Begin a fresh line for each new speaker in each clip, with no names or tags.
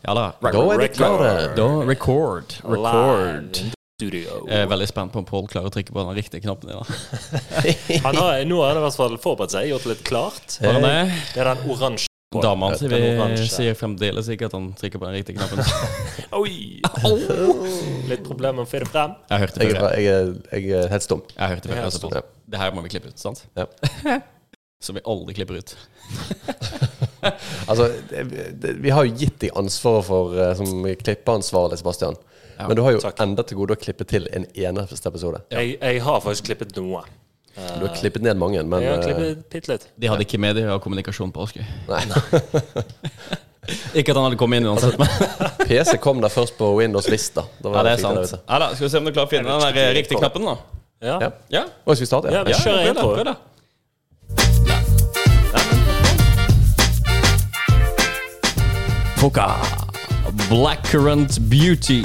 Ja da.
Re-
Da er de klare.
record.
Da record. Record. Eh,
Live in Studio.
Jeg er veldig spent på om Pål klarer å trykke på den riktige knappen din.
Eh,
da.
Han har, nå har han i hvert fall forberedt seg, gjort det litt klart.
Var det det?
Det er den oransje.
Dama
Den
sier, vi-
oransje.
sier fremdeles ikke at han trykker på den riktige knappen.
Oi! Litt problemer med å få det frem.
Jeg hørte det
Jeg,
før. jeg.
er- jeg, er- jeg er helt stum.
Jeg hørte det før.
Ja,
jeg satte på.
ja.
Det her må vi klippe ut, sant?
Ja.
Som vi aldri klipper ut.
Altså, det, det, vi har jo gitt deg ansvaret for eh, som klippeansvarlig, Sebastian.
Ja,
Men du har jo
takk.
enda til gode å klippe til en eneste episode.
Jeg, jeg har faktisk klippet noe.
Du har klippet ned mange, men
Jeg har
eh,
klippet bitte litt.
De hadde ikke medier og kommunikasjon på Askøy.
Nei.
Ikke at han hadde kommet inn uansett, men
PC kom der først på Windows Vista. Da
ja,
var
det er
fint der
sant.
ute.
Ja, da, skal vi se om du klarer å finne den der eh, riktige knappen, da.
Ja.
Ja.
Ja,
Oi, skal vi starte?
Ja, vi
ja
kjører
prøv det,
intro.
prøv det. Foca Blackcurrant Beauty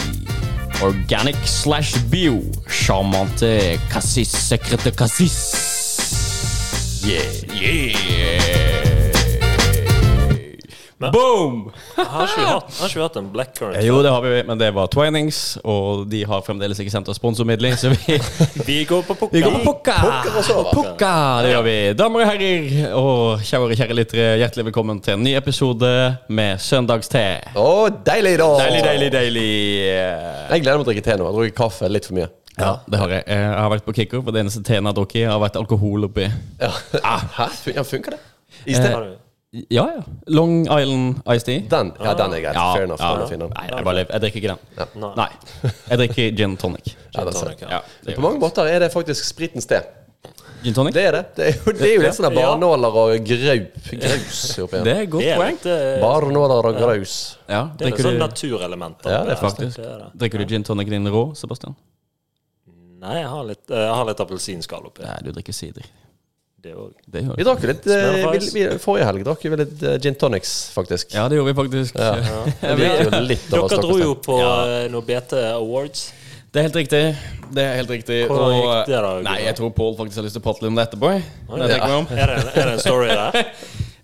Organic slash bio Charmante Cassis Sekrete Cassis Yeah Yeah Boom
Har ikke vi hatt, har ikke vi hatt en blackcurrant?
Jo det har vi men det var Twinings Og de har fremdeles ikke sendt oss sponsormidler Så vi
Vi går på
vi går
pukka.
på pukka!
Pukker og sover.
Pukka, det gjør vi. Damer og herrer og kjære kjære lyttere, hjertelig velkommen til en ny episode med søndagste.
Å, deilig, da!
Deilig, deilig, deilig.
Jeg gleder meg til å drikke te nå. Jeg drukket kaffe litt for mye.
Ja, det har jeg. Jeg har vært på kickoff, og det eneste teen jeg har drukket, har vært alkohol oppi.
Ja. Ah, Hæ? Fun- Ja, funker det? Iste?
Har du-
Ja, ja. Long Island Iced Tea.
Den, ja, den er greit.
Ja,
Fair enough.
ja.
den er fin, den.
Nei, jeg, bare, jeg drikker ikke den.
Nei.
Nei. Jeg drikker gin tonic.
Ja, den ser jeg.
Ja,
Ja.
det
På
gjør jeg.
mange måter er det faktisk spritens te.
Gin tonic?
Det er det. Det er jo, det er jo litt sånn der
Ja.
barnåler og graup. Graus oppi her.
Det er et
Det
godt
er
poeng.
litt, eh,
Barnåler og graus.
Ja,
det er litt
drikker
sånn
du,
naturelement.
Ja, det er
faktisk.
Det er det.
drikker du gin tonic din rå, Sebastian?
Nei, jeg har litt, eh, jeg har litt appelsinskall oppi.
Nei, du drikker sider.
Det òg.
Det gjør du.
Vi drakk jo litt eh,
Smell
vi,
fries.
vi, Forrige helg drakk vi litt eh, gin tonics, faktisk.
Ja, det gjorde vi faktisk.
Vi gikk jo litt over
Dere dro jo
stokken.
på eh, noe BT Awards.
Det er helt riktig. Det er helt riktig.
Hvordan gikk det da, Gunnar?
nei, jeg tror Pål faktisk har lyst til å prate litt om det etterpå. Når jeg tenker meg om.
Er det, en- er det en story der?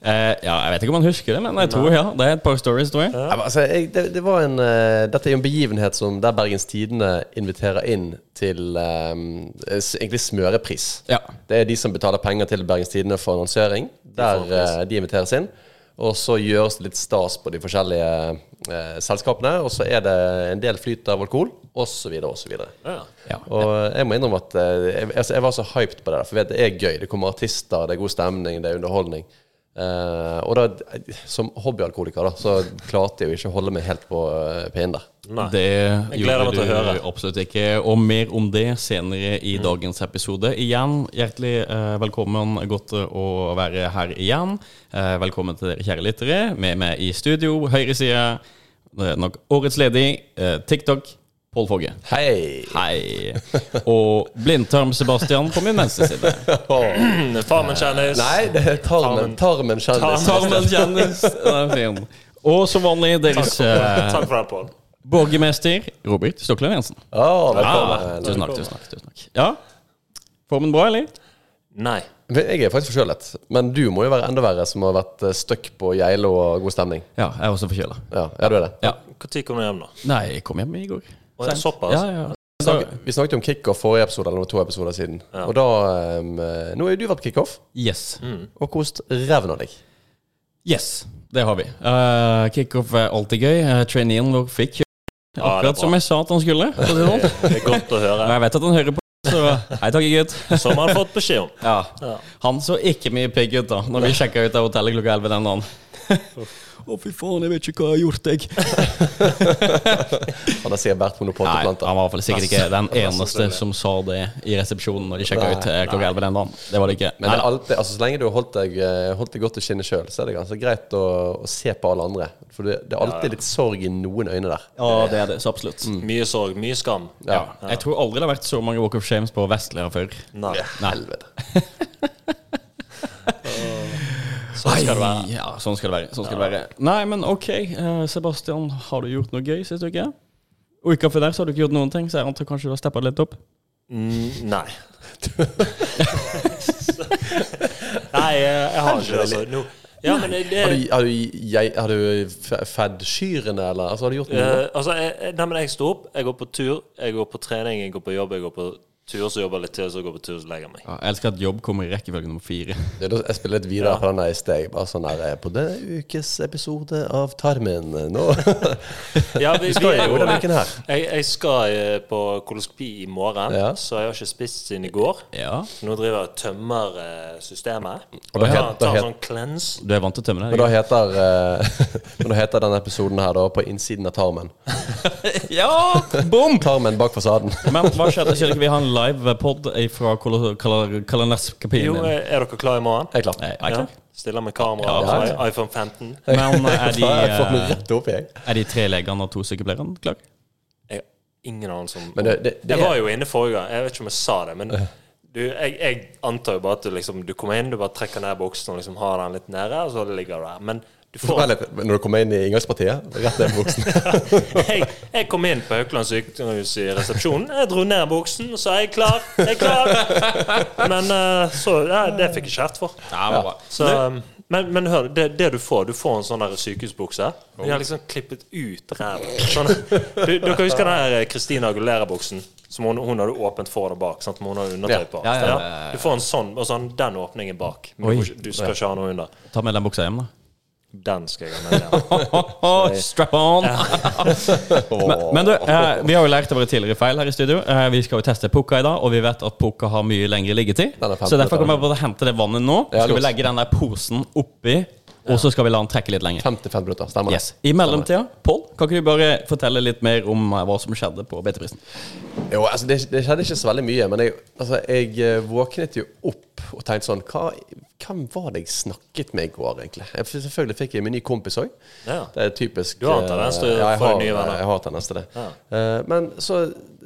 Eh, ja, jeg vet ikke om han husker det, men jeg tror ja. Det er et par stories, tror jeg.
Ja, men altså, jeg, det, det var en, eh, dette er jo en begivenhet som der Bergens Tidende inviterer inn til eh, s- egentlig smørepris.
Ja.
Det er de som betaler penger til Bergens Tidende for annonsering. Der eh, de inviteres inn. Og så gjøres det litt stas på de forskjellige eh, selskapene. Og så er det en del flyt av alkohol, osv., osv.
Ja.
Ja.
Og jeg må innrømme at eh, jeg, altså, jeg var så hyped på det der. For vet, du, det er gøy. Det kommer artister, det er god stemning, det er underholdning. Eh, og da, som hobbyalkoholiker, da, så klarte jeg jo ikke å holde meg helt på uh, pinnen der.
Nei.
Det
Jeg gleder
gjorde
meg
du
til å høre. Mm.
absolutt ikke. Og mer om det senere i dagens episode. Igjen, hjertelig eh, velkommen. Godt eh, å være her igjen. Eh, velkommen til dere kjære lyttere. Med meg i studio, høyre side, eh, nok årets ledig, eh, TikTok, Pål Fogge.
Hei!
Hei. Og blindtarm-Sebastian på min venstre side.
Mm, Farmen kjendis.
Nei, det er tarmen. Tarmen kjendis.
Tarmen kjennes. Den er fin. Og som vanlig deres eh,
Takk for den, Pål.
borgermester Robert Stokland Jensen.
Å,
Ja,
velkommen.
tusen takk, tusen takk. Tusen takk. Ja. Formen bra, eller?
Nei.
Men Jeg er faktisk forkjølet, men du må jo være enda verre, som har vært eh, stuck på Geilo og god stemning.
Ja, jeg er også forkjøla.
Ja, ja du er det.
Ja.
Når kom du hjem, da?
Nei, jeg kom hjem i går.
Å, ja, Såpass?
Ja, ja. Så,
Vi snakket jo om kickoff forrige episode, eller to episoder siden.
Ja.
Og da em, eh, Nå har jo du vært på kickoff,
yes.
og kost reven av deg.
Yes, det har vi. Eh, Kickoff er alltid gøy. Eh, Traineeen vår fikk kjøre
Ja, det er
akkurat som
bra.
jeg sa at han skulle. for å si det sånn.
Det er godt å høre.
Og jeg vet at han hører på, så hei takk, gutt.
Som han har fått beskjed om.
Ja.
Ja.
Han så ikke mye pigg ut da Når vi sjekka ut av hotellet klokka 11 den dagen. Å, fy faen, jeg vet ikke hva jeg har gjort, jeg.
Og da sier Bert Monopod
Nei, han var
til planta.
i hvert fall sikkert ikke den eneste som sa det i resepsjonen når de sjekka ut eh, klokka 11 den dagen. Det var det ikke.
Men det
Nei,
er alltid, altså, så lenge du har holdt deg, eh, holdt deg godt i skinnet sjøl, så er det ganske greit å, å se på alle andre. For det, det er alltid litt sorg i noen øyne der.
ja, det er det, så absolutt.
Mye sorg, mye skam.
Ja. Jeg tror aldri det har vært så mange walk of shames på Vestlia før.
Nei.
Nei.
Helvete.
Sånn skal det være.
Ai, Ja, sånn skal det være. Sånn skal det være. Nei, men OK. eh, Sebastian, har du gjort noe gøy sist uke? Uka før der så har du ikke gjort noen ting, så jeg antar kanskje du har steppa litt opp?
Mm, Nei. Nei, eh, jeg har ikke det. Altså. Nå, Ja, men det,
Har du, har du, jeg, har du f- fedd kyrne, eller? Altså, har du gjort noe?
Eh, altså, jeg, jeg- nei, men jeg står opp, jeg går på tur, jeg går på trening, jeg går på jobb, jeg går på tur, så jobber jeg litt til, så går jeg på tur, så legger jeg meg.
Ja, jeg elsker at jobb kommer i rekkefølge nummer fire.
Det er da Jeg spiller litt videre på den der i steg. Bare sånn her eh, På denne ukes episode av Tarmen eh, nå
Ja, vi,
skal
vi er
jo
jo
denne
der.
uken her.
Jeg, jeg skal eh, på koloskopi i morgen,
Ja.
så jeg har ikke spist siden i går.
Ja.
Nå driver jeg og tømmer eh, systemet.
Og da
Ja,
het- da
tar
het-
en sånn cleanse.
Du er vant til å tømme
Men da
deg?
heter, eh, men da heter denne episoden her da På innsiden av tarmen.
Ja! Bom!
Tarmen bak fasaden.
Men hva skjedde? Skal ikke vi ha en live pod fra
Jo,
Kalaneskapien
eh,
din?
er dere klare i morgen?
Jeg er klar.
Nei, er jeg
Ja.
klar.
Stiller med kamera
Ja,
og
ja,
i- iPhone 15.
Men eh, er de,
Jeg får den
eh,
rett opp, jeg.
er de tre legene og to sykepleierne klare?
Jeg har ingen anelse om
Men det, det, det
Jeg var
er
jo inne forrige gang. Jeg vet ikke om jeg sa det, men du, jeg, jeg antar jo bare at du, liksom, du kommer inn, du bare trekker ned boksen og liksom har den litt nede, og så ligger du der. Men du
Vent
får
litt, men Når du kommer inn i inngangspartiet, rett ned i buksen.
Jeg, jeg kom inn på Haukeland sykehus i resepsjonen. Jeg dro ned buksen og sa 'jeg er klar', 'jeg er klar'. Men eh, så ja, Det fikk jeg kjeft for.
Ja, det var bra.
Så, um, men, men hør, det, det du får, du får en sånn der sykehusbukse. De
Oh.
har liksom klippet ut ræva. Sånn, du, dere husker den her eh, Christina Aguilera-buksen? Som hun, hun hadde åpent foran og bak. Sant? Men hun har undertøy på.
Ja, ja, ja, ja, ja.
Du får en sånn, og sånn den åpningen
Oi.
bak. Men du, får ikke- du skal ikke ha noe under.
Ta med den buksa hjem, da.
Den skal jeg ha med. hjem.
Strap on! Men, men du, eh, vi har jo lært av våre tidligere feil her i studio. Eh, vi skal jo teste Pukka i dag, og vi vet at Pukka har mye lengre liggetid.
Den er femten
Så derfor kommer jeg bare
minutter.
til å hente det vannet nå.
Ja,
Skal vi
lurt.
legge den der posen oppi, og så skal vi la den trekke litt lenger.
55 minutter, stemmer det?
Yes. I mellomtida, Pål, kan ikke du bare fortelle litt mer om eh, hva som skjedde på BT-prisen?
Jo, altså det, det skjedde ikke så veldig mye, men jeg, altså jeg eh, våknet jo opp og tenkte sånn hva, Hvem var det jeg snakket med i går, egentlig? Jeg, f- selvfølgelig fikk jeg min nye kompis òg.
Ja.
Det er typisk.
Du har en tendens til å
eh, jeg
få deg
har-
nye venner.
Jeg har tendens til det. Eh, men så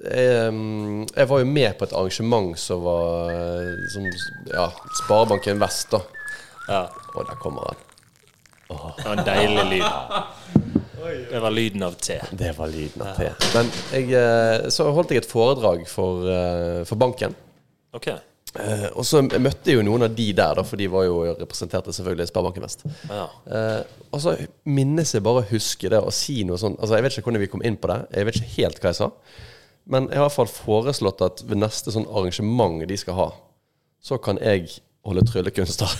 eh, Jeg var jo med på et arrangement som var eh, som, Ja, Sparebanken Vest, da.
Ja.
Og der kommer han.
Det var en deilig lyd. Det var lyden av te.
Det var lyden av te. Men jeg, eh, så holdt jeg et foredrag for, eh, for banken.
OK.
Eh, og så møtte jeg jo noen av de der, da, for de var jo representerte selvfølgelig Sparebanken Vest.
Ja.
Eh, og så minnes jeg bare å huske det og si noe sånn Altså, jeg vet ikke hvordan vi kom inn på det. Jeg vet ikke helt hva jeg sa. Men jeg har i hvert fall foreslått at ved neste sånn arrangement de skal ha, så kan jeg holde tryllekunster.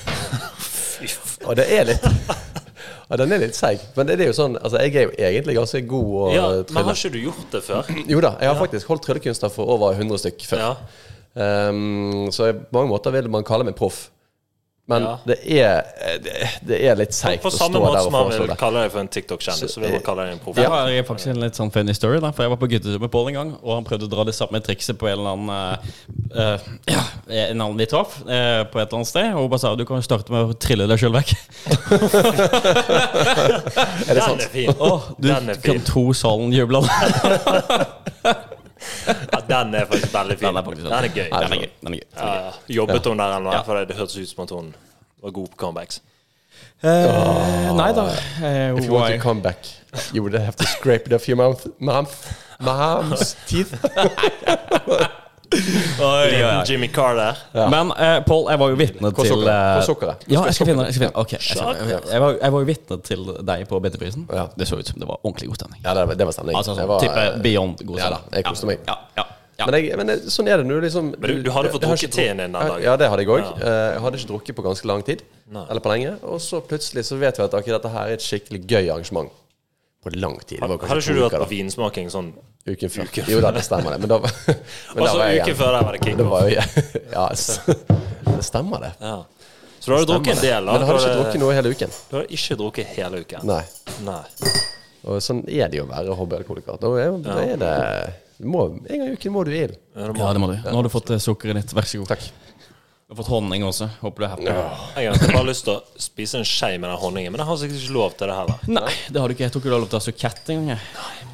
og det er litt Ja, den er litt seig. Men det er jo sånn Altså, jeg er jo egentlig ganske god å
ja.
eh,
Men
trylle.
har ikke du gjort det før?
Jo da, jeg har faktisk holdt tryllekunster for over 100 stykk før.
Ja.
Ehm, så på mange måter vil man kalle meg proff. Men
Ja.
det, er, det, det er litt seigt
På
å stå
samme
der
måte som
og
man
foreslå
vil
det.
kalle deg for en TikTok-kjendis, så vil man kalle deg en proff.
Jeg har faktisk en litt sånn funny story. Da, for Jeg var på guttetur med Pål en gang, og han prøvde å dra det samme trikset på en eller annen eh, eh, ja, En annen vi traff, eh, på et eller annet sted. Og hun bare sa du kan jo starte med å trille deg sjøl vekk.
Er det
Den
sant?
er fin.
Åh, du
Den er fin.
kan tro salen jubla.
Ja, den er faktisk veldig fin.
Den er faktisk-
sånn.
Den er gøy.
Den er gøy. Den er gøy.
Ja, ja. Jobbet hun der ennå? For det hørtes ut som at hun var god på comebacks.
Eh, nei da. Eh,
If you want to
why?
come back, you would have to scrape it off your mouth, mouth, mouth's teeth.
Oi, oi, oi.
Jimmy Carr der.
Men eh, Pål, jeg var jo vitne
Hvor
til
sukkeret?
eh,
Hvor sukkeret?
Ja, jeg skal finne det. Jeg, skal finne. det. Ok, jeg,
Sjakk.
skal, jeg, var, jeg var jo vitne til deg på BT-prisen.
Ja.
Det så ut som det var ordentlig god stemning.
Ja, det, var- det var stemning.
Altså
Det
sånn
var-
type beyond god
Ja da,
stemning.
jeg koste meg.
Ja, ja, ja.
Men, jeg, men det- sånn er det nå, liksom.
Men du- du hadde fått
jeg
drukket
har ikke drukket-
teen din den dagen.
Ja, det hadde jeg òg. Jeg hadde ikke drukket på ganske lang tid. Eller på lenge. Og så plutselig så vet vi at ok, dette her er et skikkelig gøy arrangement. På lang tid. Det var kanskje
Hadde ikke
to
du
uker,
vært
da.
på vinsmaking sånn?
Uken før. Jo da, det stemmer det. Men da, men
Og
da
så
var jeg
Altså, uken
igjen.
før der var det
Det
kickoff.
var jo Ja, s- det stemmer det.
Ja. Så du har jo drukket en del, da.
Men jeg hadde
Du
ikke
har-
drukket noe hele uken.
Du har ikke drukket hele uken.
Nei.
Nei.
Og sånn er det jo å være hobbyalkoholiker. Da er, da er det du må, En gang i uken må du i ild.
Ja, det må du. Nå har du fått eh, sukkeret ditt. Vær så god. Du har fått honning også. Håper du er happy.
Jeg har bare lyst til å spise en skje med den honningen, men jeg har sikkert ikke lov til det heller.
Nei, det har du ikke. Jeg tror ikke du har lov til å ha sukett engang. jeg.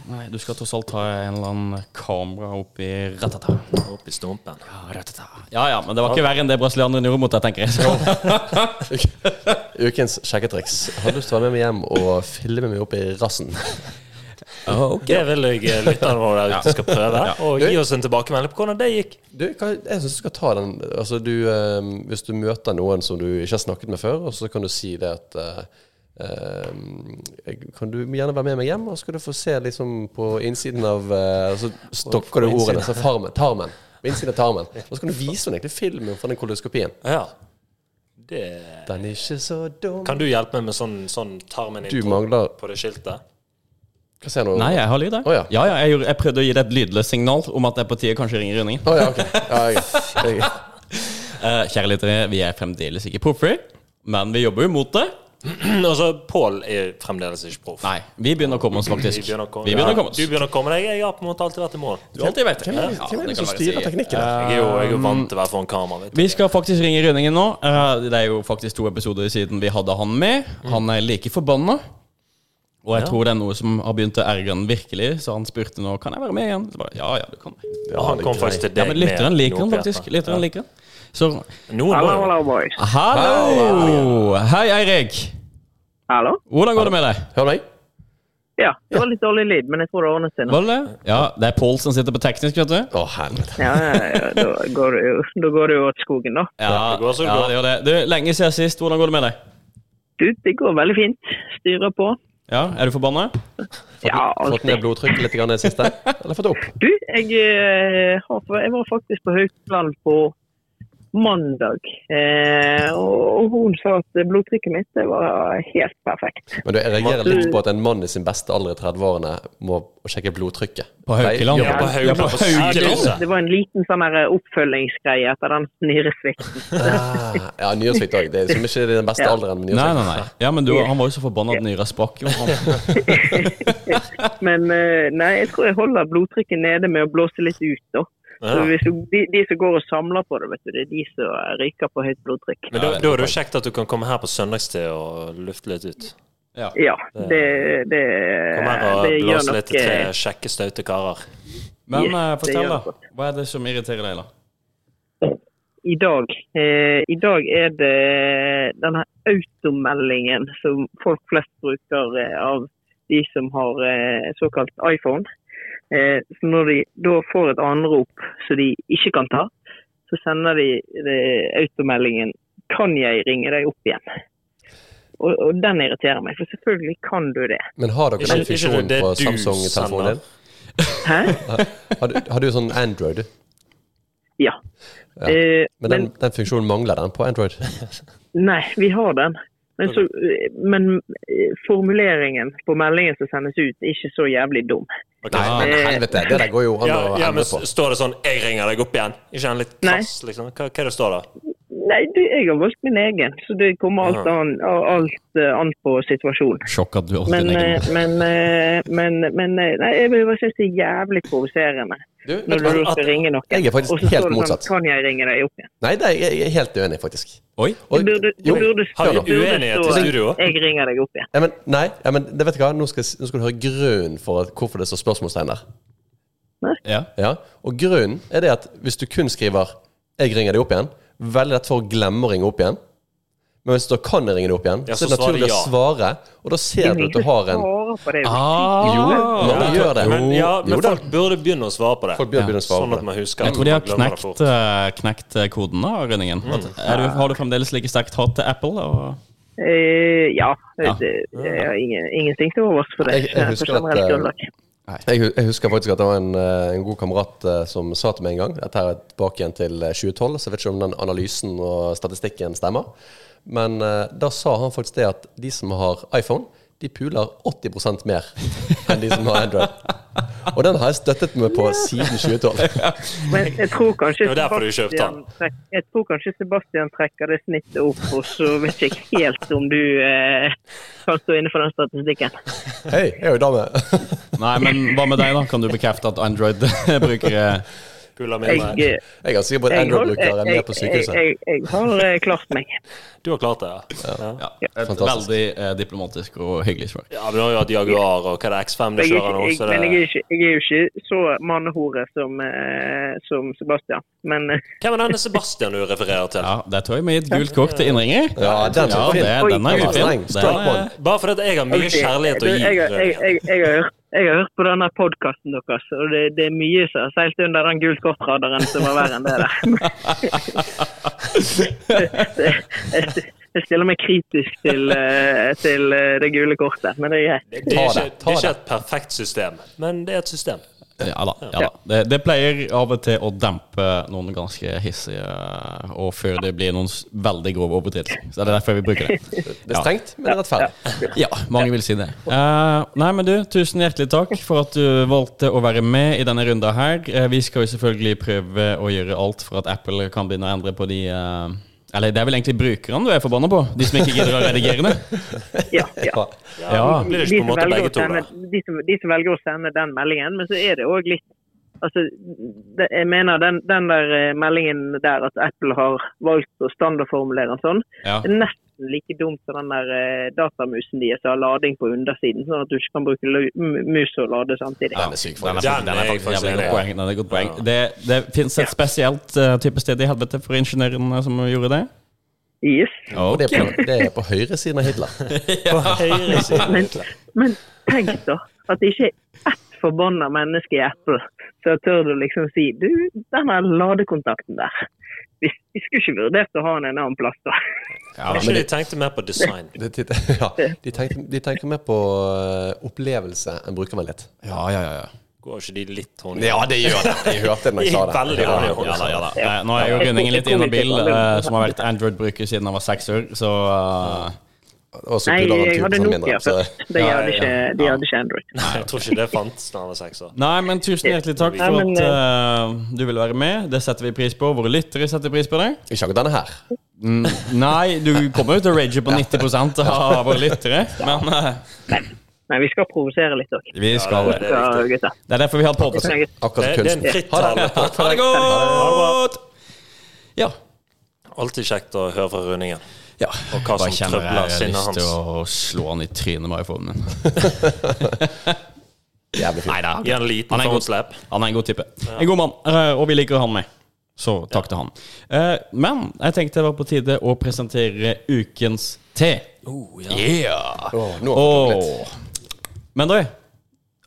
Nei, du skal tross alt ha en eller annen kamera oppi ratata.
Opp i stumpen.
Ja, ratata. ja, ja, men det var ikke verre enn det brasilianerne gjorde mot deg, tenker jeg. Så.
Ukens sjekketriks. Har du lyst til å være med meg hjem og filme meg opp i rassen?
Det vil jeg eh, lytterne våre der ute skal prøve. Og gi oss en tilbakemelding på hvordan det gikk.
Du, hva, jeg syns du skal ta den altså du, eh, Hvis du møter noen som du ikke har snakket med før, og så kan du si det at eh, eh, jeg- Kan du gjerne være med meg hjem, og så skal du få se liksom på innsiden av eh, Så stokker du ordene. Så farmen, tarmen. På innsiden av tarmen. Og så kan du vise henne egentlig filmen fra den koloskopien.
Ja. Det
Den er ikke så dum.
Kan du hjelpe meg med sånn, sånn tarmen
Du
intro
mangler
på det skiltet?
Hva sier du?
Nei, jeg har lyd, jeg.
Å, ja.
ja, ja, jeg, gjorde, jeg prøvde å gi deg et lydløst signal om at det er på tide kanskje å ringe Rønningen.
Å ja, ok. Ja, jeg, jeg,
Eh, kjære lyttere, vi er fremdeles ikke proffer, men vi jobber jo mot det.
Altså, Pål er fremdeles ikke proff.
Nei, vi begynner å komme oss,
Vi
faktisk.
begynner å komme,
Vi begynner å komme oss.
Du begynner å komme deg. Jeg har på en måte alltid vært i mål.
Du har alltid vært det.
hvem er det-
Ja,
hvem er
det
det
kan
som
være
styrer
sikkert.
teknikken der?
Jeg er jo, jeg er jo vant til å være foran kamera. Vet du.
Vi skal faktisk ringe Rønningen nå. Eh, Det er jo faktisk to episoder siden vi hadde han med.
Mm.
Han er like forbanna. Og jeg tror det er noe som har begynt å ergre han virkelig, så han spurte nå Kan jeg være med igjen. Så bare, ja, ja, du kan det.
Og han kom faktisk til deg
Ja, men lytteren
med
liker han
noe
faktisk.
på hjertet.
Lytteren liker han. Så
Noen må
Hallo,
jo-
hallo, boys.
Ah.
hallo! Hei, Eirik.
Hallo?
Hvordan går det med deg?
Hør meg?
Ja, det var litt dårlig lyd, men jeg tror det ordner seg nå.
Var det det? Ja, det er Pål som sitter på teknisk, vet du.
Å, helvete.
Ja, ja, ja, da går det jo, da går det jo åt skogen, da.
Ja,
det går så det
ja,
går.
det gjør det. Du, lenge siden sist. Hvordan går det med deg?
Du, det går veldig fint. Styrer på.
Ja, Er du forbanna?
Ja,
Fått ned
alltid.
blodtrykket litt grann i det siste? Eller fått det opp?
Du, jeg, eh, har, jeg var faktisk på Haukeland på mandag, eh, og, og hun sa at blodtrykket mitt det var helt perfekt.
Men du, jeg reagerer litt på at en mann i sin beste alder i 30-årene må sjekke blodtrykket.
På Haukeland.
Nei,
Ja, på Haugland.
Ja, på Haugland.
Ja, det er-
Det var en liten sånn der oppfølgingsgreie etter den nyresvikten.
Ah, ja, nyårssvikt òg. Det er som ikke den beste
Ja.
alderen med
Nei,
nyårssvikt.
nei, nei. Ja, men du, han var jo så forbanna at nyra sprakk. jo. Han-
Men eh, nei, jeg tror jeg holder blodtrykket nede med å blåse litt ut, da. Så
Ja.
hvis du, de, de som går og samler på det, vet du, det er de som ryker på høyt blodtrykk.
Men da, da er det jo kjekt at du kan komme her på søndagstid og lufte litt ut.
Ja.
Ja, det, det,
Kom her og
Eh, det gjør
blåse litt
nok
til tre
eh,
kjekke, staute karer.
Men
Ja,
eh,
det
fortell,
gjør
da.
det godt.
Hva er det som irriterer deg, da?
i dag. Eh, I dag er det denne automeldingen som folk flest bruker eh, av de som har eh, såkalt iPhone. Eh, så når de da får et anrop som de ikke kan ta, så sender de eh, automeldingen 'Kan jeg ringe deg opp igjen?' Og, og den irriterer meg, for selvfølgelig kan du det.
Men har dere
Ikke-
den
ikke
funksjonen
det
på
du
Samsung-telefonen din?
Hæ?
Har du, har du sånn Android?
Ja.
Ja.
Eh,
Men den, den funksjonen mangler den på Android.
Nei, vi har den. Men, så, men eh, formuleringen på meldingen som sendes ut, er ikke så jævlig dum.
Ok.
Ah.
Nei, men
Eh.
helvete. Det der går jo an
Ja,
å
ja, men
endre på.
s- står det sånn 'Jeg ringer deg opp igjen'? Ikke han litt
Nei.
krass, liksom? Hva, hva er det står der?
Nei, det, jeg har valgt min egen, så det kommer alt
Ja.
an, alt eh, an på situasjonen.
Sjokk at du har
Men, eh, men, eh, men, men eh, nei, jeg bare syns det er jævlig provoserende
Du, vet
når
du
du
hva?
da skal ringe noen.
Jeg er faktisk
og så står
helt
det
motsatt.
Sånn, kan jeg ringe deg opp igjen?
Nei, det er jeg jeg er helt uenig, faktisk.
Oi.
Og-
Burde,
jo,
burde,
Har vi
burde stå,
uenighet i studio?
Jeg ringer deg opp igjen.
ja, men, nei, ja, men det vet du hva? Nå skal, nå skal du høre grunnen for at, hvorfor det står spørsmålstegn der.
Ja.
Ja, og grunnen er det at hvis du kun skriver 'jeg ringer deg opp igjen', veldig lett for å glemme å ringe opp igjen. Men hvis du da kan ringe deg opp igjen,
Ja, så
så, er det naturlig
svarer
å svare, og da ser du at du har en
Svarer på det.
Jo,
Ah,
men de gjør det.
Men, ja,
Jo
men
da.
folk burde begynne å svare på det.
Folk begynner å begynne å svare
sånn
på
at
det.
man husker
Jeg
det,
tror de har
man glemmer det
knekt,
fort.
eh, knekt eh, koden da, Rønningen. At- Er du, har du fremdeles like sterkt hat til Apple? Og...
Eh, ja,
Ja.
Det, jeg har ingen, ingenting til overs for det.
Jeg- jeg
eh,
husker
på generelt
at, eh,
grunnlag.
Jeg, hu- jeg husker faktisk at det var en, eh, en god kamerat eh, som sa til meg en gang Dette er tilbake igjen til eh, 2012, så jeg vet ikke om den analysen og statistikken stemmer. Men eh, da sa han faktisk det at de som har iPhone, de puler 80 mer enn de som har Android. Og den har jeg støttet meg på siden 2012.
Men jeg tror
Det
kanskje
var derfor du kjøpte
Sebastian
den.
trekk- Jeg tror kanskje Sebastian trekker det snittet opp, og så vet jeg ikke helt om du eh, kan stå inne for den statistikken.
Hei, jeg er jo dame.
Nei, men hva med deg, da? Kan du bekrefte at eh, Android-brukere
Puller med
Jeg,
meg.
eh,
Jeg er ganske sikker på at
jeg, hold-
Android-brukere er
jeg,
med på
jeg,
sykehuset.
jeg, jeg har eh, klart meg.
Du har klart det, ja? Ja,
ja, Et
Fantastisk.
veldig eh, diplomatisk og hyggelig svar.
ja men du har jo hatt Jaguar, og hva er det, X5 du
Jeg, er
kjører nå?
ikke-
Så
jeg, men jeg er
det...
ikke- jeg er jo ikke så mannehore som, eh, som Sebastian. Men eh,
Hvem er denne Sebastian du refererer til?
Ja, Der tror jeg vi har gitt gult kort til innringer.
Ja, den
Ja,
er
det, den
fin.
er
Den
jo
er
fin.
streng.
Den
Strike
er-
one.
Bare fordi at jeg har mye
jeg,
kjærlighet å
jeg,
gi.
jeg, jeg, jeg, jeg har hørt Jeg har hørt på denne podkasten deres, og det, det er mye som har seilt under den gult kort-radaren som var verre enn det der. Jeg- Jeg stiller meg kritisk til, eh, til eh, det gule kortet, men det er greit.
Det, det, er
Ta
ikke,
det,
det
ta
er ikke et perfekt system, men det er et system.
Ja da. ja da. Det, det pleier av og til å dempe noen ganske hissige eh, Og før det blir noen s- veldig grove overtredelser. Så det er derfor vi bruker det.
Det er strengt, men rettferdig.
Ja, mange vil si det. Eh, nei, men du, tusen hjertelig takk for at du valgte å være med i denne runda her. Eh, vi skal jo selvfølgelig prøve å gjøre alt for at Apple kan begynne å endre på de eh, Eller det er vel egentlig brukerne du er forbanna på? De som ikke gidder å redigere det?
Ja, ja.
Ja.
Ja.
Blir det
de
ikke på en
som
måte
velger
begge
å
to,
sende-
da?
de som, de som velger å sende den meldingen, men så er det òg litt Altså, det, jeg mener den, den der eh, meldingen der at Apple har valgt å standardformulere den sånn,
Ja.
er nesten like dumt som den der eh, datamusen de som har lading på undersiden, sånn at du ikke kan bruke lu- mu- mus og lade samtidig.
Den er syk,
Den er,
faktisk.
Den
den er
er jeg
faktisk
faktisk
jævlig godt
enig i.
poeng. Den er et godt poeng. Det, det fins et spesielt eh, type sted i helvete for ingeniørene som gjorde det.
Yes.
Og det er på, det er på høyresiden av Hitler.
På høyre side.
Men, men tenk da, at det ikke er ett forbanna menneske i Apple som tør å liksom si du, den der ladekontakten der, vi, vi skulle ikke vurdert å ha den en annen plass da.
Kanskje de tenkte mer på design.
Det, det, ja, de, tenker, de tenker mer på eh, opplevelse enn brukervennlighet.
Ja, ja, ja. ja.
Går ikke de litt hånd i
Ja, det gjør det! Jeg hørte det når jeg sa det.
Veldig
Ja,
hånd i
ja.
hånd.
Ja da, ja da. Eh, Nå er jo Rønningen litt inhabil, eh, som har vært Android-bruker siden han var seks år, så eh,
Og så
Nei,
puller han
jeg hadde
tusen mindre.
Nokia
Så,
først. De hadde ikke, de hadde ikke Android.
Nei, jeg tror ikke det fantes da han var seks år.
Nei, men tusen hjertelig takk for
Nei, men,
at eh, du ville være med. Det setter vi pris på. Våre lyttere setter pris på deg.
ikke akkurat denne her.
Mm, nei, du kommer jo til å rage på 90 av våre lyttere, men eh,
Nei, vi skal provosere litt òg.
vi skal det.
Det er viktig.
gutter.
Det er derfor vi har podkast.
Snakkes.
Det,
Akkurat
det er en
kunsten.
frittale. på-
Ha det godt! Ja.
Alltid kjekt å høre fra Rønningen.
ja.
Og hva
Bare
som
kjenner
trøbler
jeg har
sinnet
lyst
hans.
til å slå han i trynet med iPhonen min.
Jævlig fint.
Nei da.
Gi en liten
Han er en god-
phone slap.
Han er en god type. En god mann, eh, og vi liker han med. Så takk til han. Eh, Men jeg tenkte det var på tide å presentere ukens te. Oh, Yeah!
Åh, nå har jeg fått litt.
Åh. Men du,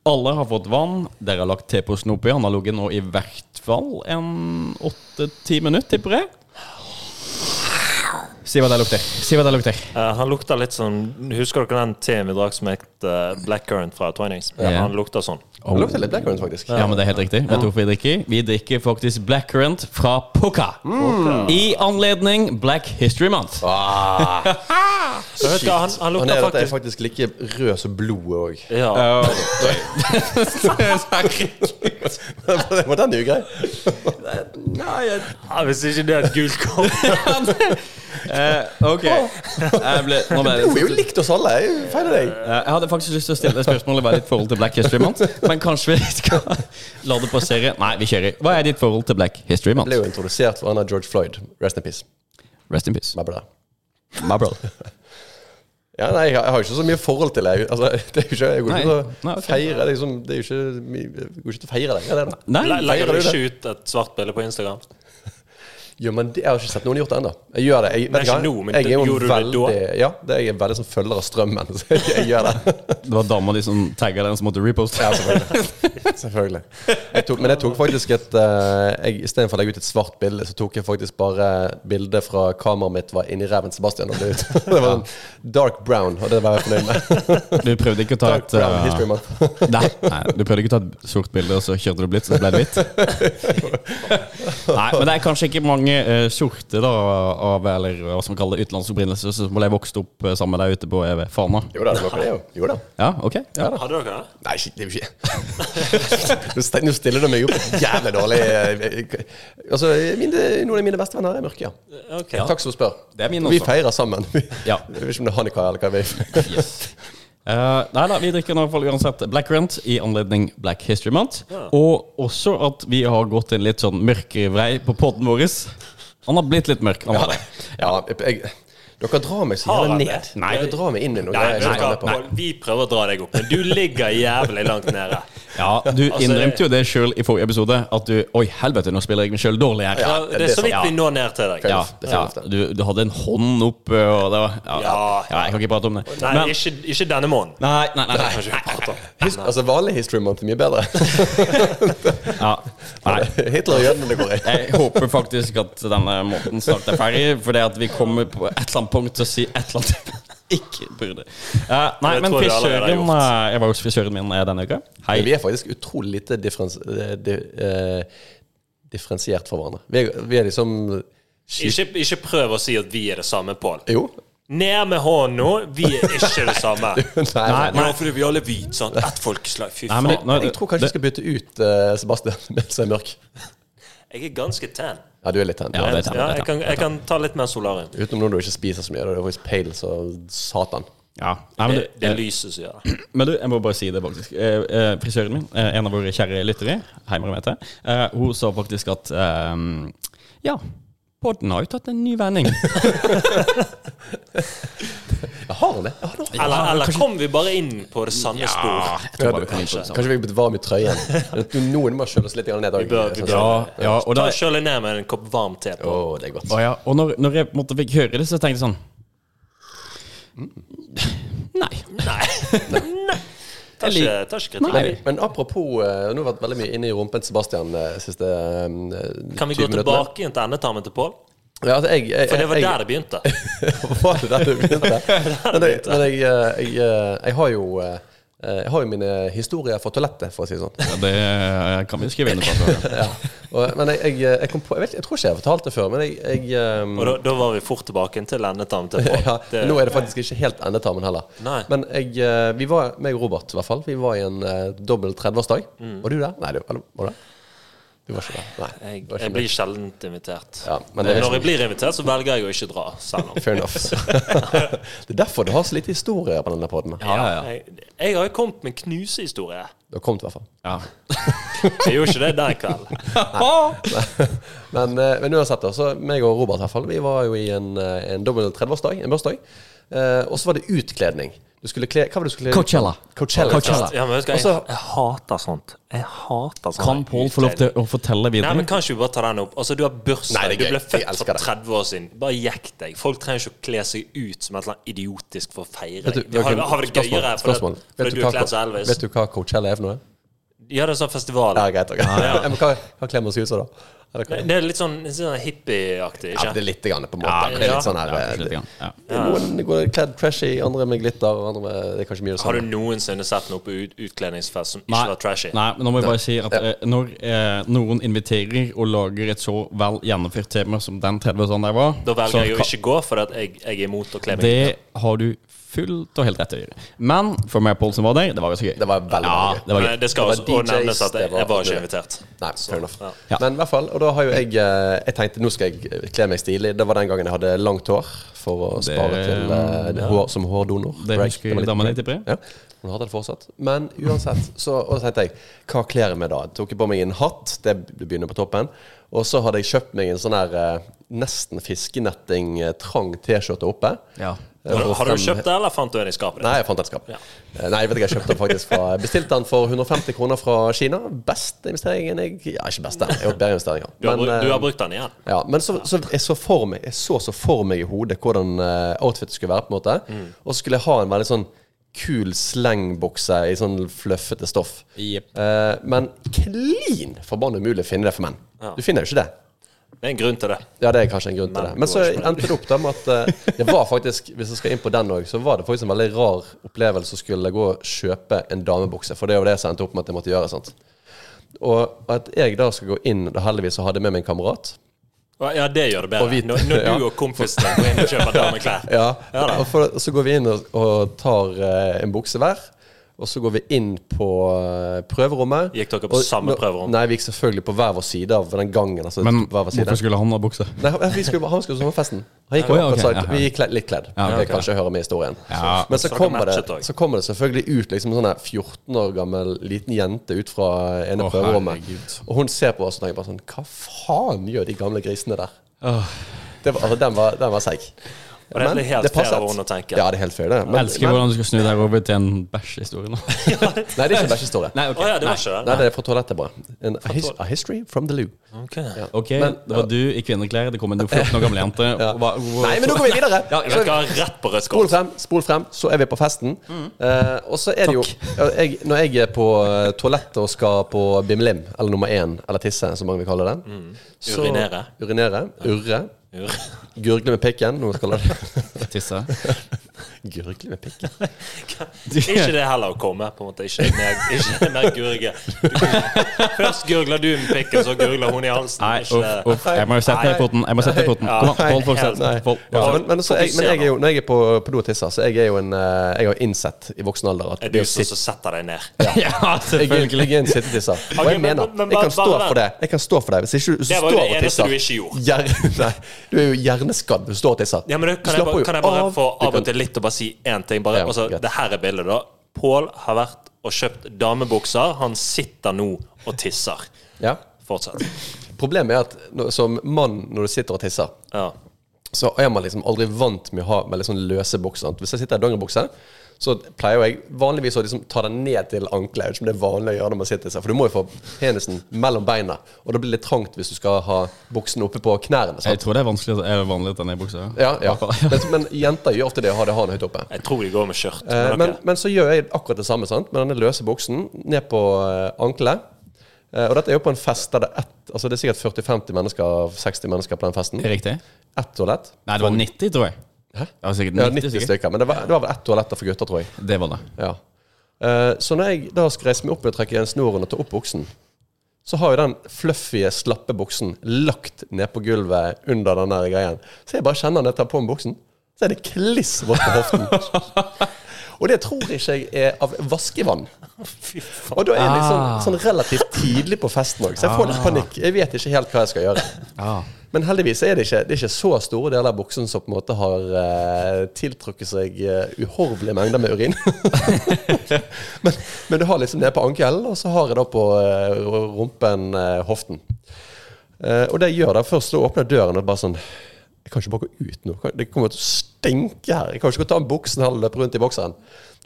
alle har fått vann. Dere har lagt te på snopet. Han har ligget nå i hvert fall en åtte-ti minutter, tipper jeg. Si hva det lukter. Si hva det lukter.
Eh, han lukter litt sånn Husker dere den teen vi drakk som het eh, Blackcurrant fra Twinings?
Ja.
Han lukter sånn.
Det lukter litt blackcurrant, faktisk.
Ja, men det er helt riktig. Vet du hvorfor vi drikker? Vi drikker faktisk Blackcurrant fra Pukka.
Mm.
I anledning Black History Month.
Ah,
Men vet du, hva, han, han
han
lukter
er, dette er
faktisk
faktisk like rød som blodet òg.
ja,
Var den ugrei?
Ja, Hvis ikke det er et gult kort
Eh, ok. Jeg ble, nå ble
Hun er
jeg
jo likt oss alle. Jeg feiler deg.
Eh, jeg hadde faktisk lyst til å stille det spørsmålet hva er ditt forhold til Black History Month, men kanskje vi skal la det passere. Nei, vi kjører. Hva er ditt forhold til Black History
Ble
Month?
jo introdusert for han av George Floyd. Rest in peace.
Rest in peace.
My brother.
My brother.
Ja, nei, jeg har- jeg har ikke så mye forhold til det. Altså, det er jo ikke, jeg går ikke
Nei.
til
Nei,
å
ok.
feire det. Liksom, det er jo ikke, mye- jeg går ikke til å feire det. Ja, det, er det.
Nei,
Le- Legger du
feirer du
ikke ut et svart bilde på Instagram?
Gjør man det? Jeg har ikke sett noen gjort det ennå. Jeg gjør det. Jeg,
Nei,
vet du hva?
ikke nå, men
jeg er jo
gjorde du det da?
veldig Ja, det er jeg er veldig sånn følger av strømmen. Så jeg, jeg gjør det.
Det var dama di som tagga den som måtte reposte.
Ja, selvfølgelig. selvfølgelig. Jeg tok, men jeg tok faktisk et eh, jeg, Istedenfor å legge ut et svart bilde, så tok jeg faktisk bare bildet fra kameraet mitt var inni ræven til Sebastian. Og det, ut. det var en dark brown, og det var jeg fornøyd med.
Du prøvde ikke å ta
Dark
et
brown
eh,
history month.
Nei, nei, du prøvde ikke å ta et sort bilde, og så kjørte du blitz, og så ble det hvitt? Nei, men det er kanskje ikke mange eh, sorte da, av eller hva som kalles utenlandsk opprinnelse, som ble vokst opp eh, sammen med deg ute på eh, Fana.
Jo da, det var på det, jo. Jo da.
Ja, ok. Ja.
Hadde dere det?
Nei, shit, det er jo ikke Nå st- Nå stiller du meg opp jævlig dårlig. Altså, mine, noen av mine bestevenner er mørke, ja.
Ok.
Takk som spør.
Det er mine
vi
også.
feirer sammen. Vi,
Ja.
Jeg vet ikke om det er Hannika eller hva vi
Eh, nei da, vi drikker i hvert fall uansett Black Rent i anledning Black History Month. Og også at vi har gått en litt sånn mørkere vrei på podden vår. Han har blitt litt mørk. Han har det.
Ja, jeg, dere drar meg så
Har
jævla
han
ned.
det?
Dere drar meg inn i noe.
Nei,
jeg
vet
ikke
du
er med
hva?
på.
Vi prøver å dra deg opp, men du ligger jævlig langt nede.
Ja, du innrømte jo det sjøl i forrige episode, at du Oi, helvete, nå spiller jeg meg sjøl dårlig her.
Ja, det
det
er
er
så vidt
sant.
vi når ned til deg.
Ja,
Det er
ja.
fint,
Du, du hadde en hånd opp, og det var Ja,
Ja.
ja jeg kan ikke prate om det.
Nei,
Men-
ikke, ikke denne måneden.
Nei, nei, nei.
Kanskje vi prater om.
His, altså Vanlig history month er mye bedre.
Ja. nei.
Hitler og jødene det går i.
Jeg håper faktisk at denne måten snart er ferdig, for det at vi kommer på et eller annet punkt til å si et eller annet vi ikke burde. Eh, nei,
Det
men
tror jeg allerede har
frisøren eh, Jeg var hos frisøren min eh, denne uka. Hei.
Vi er faktisk utrolig lite differens, eh, di, eh, differensiert fra hverandre. Vi er, vi er liksom sky-
Ikke, ikke prøv å si at vi er det samme, Pål.
Jo.
Ned med hånden nå. Vi er ikke det samme.
Nei,
Nei,
Ja, fordi vi alle er hvite, sant? Ett folkeslag. Fy
Nei, men det-
faen.
nå-
Jeg tror kanskje jeg skal bytte ut eh, Sebastian mens jeg er mørk.
Jeg er ganske tan.
Ja, du er litt tent.
Ja, det er
Ja,
sant.
jeg kan, jeg kan ta litt mer solarium.
Utenom når du ikke spiser så mye. Da er du faktisk pale som satan.
Ja. Nei, men,
Det,
du,
det er
eh,
lyset som gjør det.
men du, jeg må bare si det, faktisk. Eh, eh, frisøren min, eh, en av våre kjære lyttere, Heimer Mette, eh, hun sa faktisk at eh, Ja, podden har jo tatt en ny vending.
Jeg har det. Ja, da.
Eller, eller kom vi bare inn på det samme spor?
Jeg tror bare vi kan inn på det samme.
Kanskje vi er blitt varm i trøyen. Du, Noen må kjøle oss litt grann ned. Vi
bør- vi bør-
Ja, ja, og
Ta
da,
og Kjøl deg ned med en kopp varm te. på.
det er godt.
Å ja, og når, når jeg på en måte fikk høre det, så tenkte jeg sånn Nei.
Ta ikke, ta ikke kritikk.
Men, men apropos eh, Nå har vi vært veldig mye inne i rumpen til Sebastian de siste eh,
Kan vi
20
gå
minuttene.
tilbake igjen til endetarmen til Pål?
Ja, altså, jeg, jeg,
For det var
jeg,
der det begynte.
Var det der du begynte? Men, jeg, men jeg, eh, jeg, eh, jeg har jo eh, jeg har jo mine historier fra toalettet, for å si det sånn.
Ja, det eh, kan vi skrive under på.
Ja. Og, men jeg, jeg, jeg kom på jeg, vet, ikke- jeg tror ikke jeg har fortalt det før, men jeg, jeg eh,
Og da, da var vi fort tilbake igjen til endetarmen til Pål.
ja,
Det-
Nå er det faktisk ikke helt endetarmen heller.
Nei.
Men jeg, eh, vi var, meg og Robert i hvert fall, vi var i en eh, dobbel 30-årsdag.
Mm.
Var du der? Nei, du, eller, var du der? Du var ikke der. Nei.
Jeg,
du var
jeg
ikke med.
blir sjelden invitert.
Ja, men det er
Når
liksom-
jeg blir invitert, så velger jeg å ikke dra. Selv om
Fair enough. det er derfor du har så lite historier på denne podden.
Ja, ja, ja.
jeg, jeg har jo kommet med en knusehistorie.
Du har kommet, i hvert fall.
ja.
Jeg gjorde ikke det den kvelden.
Men, eh, men uansett, da, så meg og Robert i hvert fall, vi var jo i en, eh, en dobbel 30-årsdag, en bursdag. Eh, og så var det utkledning. Du skulle kle, hva var det du skulle kle
Coachella.
Coachella.
Coachella.
Ja, men vet du hva,
Og så-
jeg, jeg hater sånt. Jeg hater sånt.
Kan Pål få lov til å fortelle
Nei,
videre?
men Kan ikke vi bare ta den opp? Altså, Du har bursdag,
Nei, det
du
er gøy.
ble
Jeg
født
elsker
for
det.
30 år siden. Bare jekk deg. Folk trenger ikke å kle seg ut som et eller annet idiotisk for å feire.
Vet du-
deg. Vi har, har vi det
spørsmål,
gøyere fordi,
spørsmål. Vet,
fordi
du
du
hva,
er kledd som
Co-
Elvis?
vet du hva Coachella er for noe?
Ja, det er sånn festival.
Ja, greit. ok.
ja.
Ja, men hva, hva kler man seg ut som, da? Er det,
Det er litt sånn, litt sånn hippieaktig,
ja,
ikke?
det er litt grann, på en måte. det er
ja.
litt sånn her
Ja, kanskje
eh,
litt grann. ja.
Noen går kledd trashy, andre med glitter, og andre med Det er kanskje mye det
Har
samme.
du noensinne sett noe på ut, utkledningsfest som ikke
Nei,
var trashy?
nei, men nå må jeg bare si at eh, når eh, noen inviterer og lager et så vel gjennomført tema som den 30 sånn der var
Da
så
velger jeg å
kan-
ikke gå, for at jeg, jeg er imot å kle meg
Det har du fullt og helt rett til å gjøre. Men for meg og Pål som var der, det var ganske gøy.
Det var veldig
ja,
gøy.
det var
Men
gøy.
det skal
Det var
også og
DJs,
nevnes at jeg,
det var-
jeg var ikke invitert.
Nei, fair enough.
ja.
Ja.
Men i hvert fall, og da har jo jeg eh, Jeg tenkte nå skal jeg kle meg stilig. Det var den gangen jeg hadde langt hår for å spare til eh, hår, som hårdonor.
Det
Brag.
husker
var litt-
dama di, tipper jeg.
Ja, hun hadde det fortsatt. Men uansett, så og da tenkte jeg hva kler jeg meg da? Jeg tok på meg en hatt, det begynner på toppen. Og så hadde jeg kjøpt meg en sånn her eh, nesten fiskenetting, eh, trang T-skjorte oppe.
Ja.
Eh,
Har,
for
har du
fem-
kjøpt det, eller fant du den i skapet? ditt?
Nei, jeg fant den skap. Eh, Nei, jeg vet ikke, jeg kjøpte den faktisk fra Jeg Bestilte den for 150 kroner fra Kina. Beste investeringen jeg Ja, ikke beste, jeg har gjort bedre investeringer.
Du har,
Men,
bru- du har
eh,
brukt den igjen?
ja, men så, så jeg så for meg Jeg så så for meg i hodet hvordan eh, outfitet skulle være. på en måte
Mm.
Og så skulle jeg ha en veldig sånn kul slengbokse i sånn fluffete stoff.
Jep.
Eh, men klin forbanna umulig å finne det for menn. Du finner jo ikke det.
Det er en grunn til det.
Ja, det er kanskje en grunn til
Men
det.
det
Men så
går ikke
endte det opp da med at eh, det var faktisk, hvis jeg skal inn på den òg, så var det faktisk en veldig rar opplevelse å skulle gå og kjøpe en damebukse. For det er jo det som endte opp med at jeg måtte gjøre. sant? Og at jeg da skal gå inn da heldigvis så hadde jeg med meg en kamerat.
Og Ja, det gjør det bedre.
Og hvit.
Når, når du
Ja.
og kompisen din går inn og kjøper dameklær.
Ja,
Ja da.
og for, Så går vi inn og, og tar eh, en bukse hver. Og så går vi inn på eh, prøverommet.
Gikk dere på
Og
samme
nå-
prøverom?
Nei, vi gikk selvfølgelig på hver vår side av den gangen. Altså,
Men
hver vår side.
hvorfor skulle han ha bukse?
Nei, han- vi skulle, han skulle på sommerfesten. Han gikk
Ja,
opp,
ja, ok,
og sa,
ja, ja.
Vi gikk kledd- litt kledd.
Ja,
Det
ok.
kan ikke høre med historien.
Ja.
Men så
Så dere
kommer,
matchet
det,
også.
så kommer det selvfølgelig ut liksom sånn her 14 år gammel liten jente ut fra ene
Å,
prøverommet.
herregud.
Og hun ser på oss og tenker bare sånn Hva faen gjør de gamle grisene der? Det var, altså, den var, den var seig.
Og det er helt fair over å tenke.
Ja, det er helt fair, det. Men,
Jeg elsker hvordan du skal snu deg over til en bæsjhistorie nå.
Nei, det er ikke bæsjehistorie.
Nei, ok.
Å ja, det
Nei.
var ikke det.
Nei, det er fra toalettet, bare. En, a, his, a history from the loo.
Ok. Ja.
Ok, det var du i kvinneklær, det kom en 14 år gammel jente. og hva- hvor-
Nei, men nå går vi videre!
Jeg skal rett på rødt
Spol
kort.
frem, spol frem, så er vi på festen. Eh, og så er det jo ja, jeg, Når jeg er på eh, toalettet og skal på bimlim, eller nummer én, eller tisse, som mange vil kalle det så-
Urinere.
Urinere. Urre. Gurgle med pikken. Noen kaller det
Tisse.
Gurgle med pikken?
Ikke det heller å komme. på en måte Ikke mer, ikke mer gurge. Du- Først gurgler du med pikken, så gurgler hun i halsen.
Nei,
Ikke
uff,
det-
uff. Jeg må jo sette deg i poten. Jeg må sette deg i poten. Kom an, hold fortsett.
Nei.
Hold,
Ja,
hold.
men, men, også, jeg, men jeg er jo, når jeg er på, på do og tisser, så jeg er jo en eh, Jeg har innsett i voksen alder at
Er
det
du
å
som
sitte
som setter deg ned?
Ja,
jeg, er-
selvfølgelig.
jeg er en sittetisser. Og
Ok,
jeg
men-
mener
men- men
Jeg kan
bare-
stå
bare-
for det. Jeg kan stå for det Hvis ikke du
Det var
står
jo
og
det eneste
tisser
du ikke gjorde.
Gjer- Nei, du er jo hjerneskadd hvis du står og tisser.
Ja, men det,
Du
kan, jeg
slapper
bare,
jo
kan jeg bare
av.
få
Du kan-
avbryte litt og bare si én ting? Bare,
Ja,
altså,
greit.
det her er bildet, da. Pål har vært og kjøpt damebukser. Han sitter nå og tisser.
Ja.
Fortsett.
Problemet er at når- som mann, når du sitter og tisser,
Ja.
så er man liksom aldri vant med å ha veldig sånn løse bukser. sant? Hvis jeg sitter i dongeribukse, så pleier jo jeg vanligvis å liksom ta den ned til anklet. Jeg vet ikke om det er vanlig å gjøre når man sitter i seg, for du må jo få penisen mellom beina. Og da blir det litt trangt hvis du skal ha buksen oppe på knærne.
Jeg
Sant?
tror det er vanskelig er det vanlig at den er i buksa.
Ja, ja.
Ja.
Men, men jenter gjør ofte det, å ha det hanen høyt oppe.
Jeg tror de går med skjørt.
Eh,
Men,
men,
ok.
men så gjør jeg akkurat det samme sant? med denne løse buksen ned på eh, ankelet. Eh, og dette er jo på en fest der det er ett Altså det er sikkert 40-50 mennesker, 60 mennesker på den festen.
Riktig.
Ett toalett.
Nei, det var 90, tror jeg.
Hæ?
Det var sikkert
Ja,
90
90
stykker.
stykker. Men det var, det var vel ett toalett der for gutter, tror jeg.
Det var det.
Ja. Eh, så når jeg da skal reise meg opp og trekke igjen snoren og ta opp buksen, så har jo den fluffy, slappe buksen lagt ned på gulvet under den der greien. Så jeg bare kjenner når jeg tar på meg buksen, så er det kliss vått på hoften. og det tror ikke jeg er av vaskevann.
Fy faen.
Og da er jeg liksom sånn relativt tidlig på festen òg, så jeg får litt panikk. Jeg vet ikke helt hva jeg skal gjøre.
Ja.
Men heldigvis er det ikke, det er ikke så store deler av buksen som på en måte har eh, tiltrukket seg eh, uhorvelige mengder med urin. men, men du har liksom nede på ankelen, og så har jeg da på eh, rumpen eh, hoften. Eh, og det jeg gjør da, først så åpner jeg døren og bare sånn Jeg kan ikke bare gå ut nå. Kan- Det kommer til å stinke her. Jeg kan ikke gå og ta av buksen her og løpe rundt i bokseren.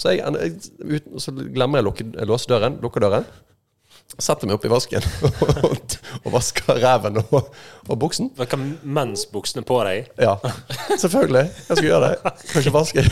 Så, jeg, jeg, uten- så glemmer jeg å lukke- låse døren. Lukker døren setter meg opp i vasken og, og vasker ræven og, og buksen.
Men kan mens buksene på deg
Ja, selvfølgelig. Jeg skal gjøre det. Kan ikke vaske.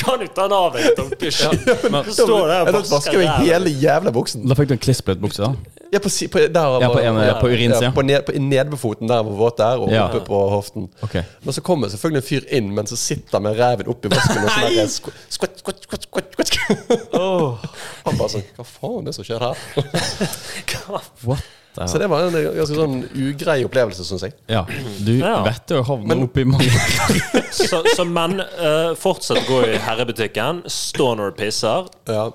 Kan du ta den av deg? Tom? Så står det her
Jeg
og
måtte vaske meg
ræven.
hele jævla buksen.
Da fikk du en klissbløt bukse, da.
Ja, på, si- på, der,
Ja, på en- eh,
ja,
på urinsida.
på, ned, på nedbefoten der hvor våt det er, og
Ja.
oppe på hoften.
Ok.
Men så kommer selvfølgelig en fyr inn mens han sitter med ræven oppi vasken. Og sånn der, skvatt, skvatt, skvatt, skvatt, skvatt, skvatt. Han bare sånn Hva faen er det som skjer her?
What? the-
Så det var en ganske sånn ugrei opplevelse, syns jeg.
Ja. Du
Ja.
vet du havner oppi mange
Så, så menn, eh, fortsett å gå i herrebutikken. Stå når du pisser.
Ja.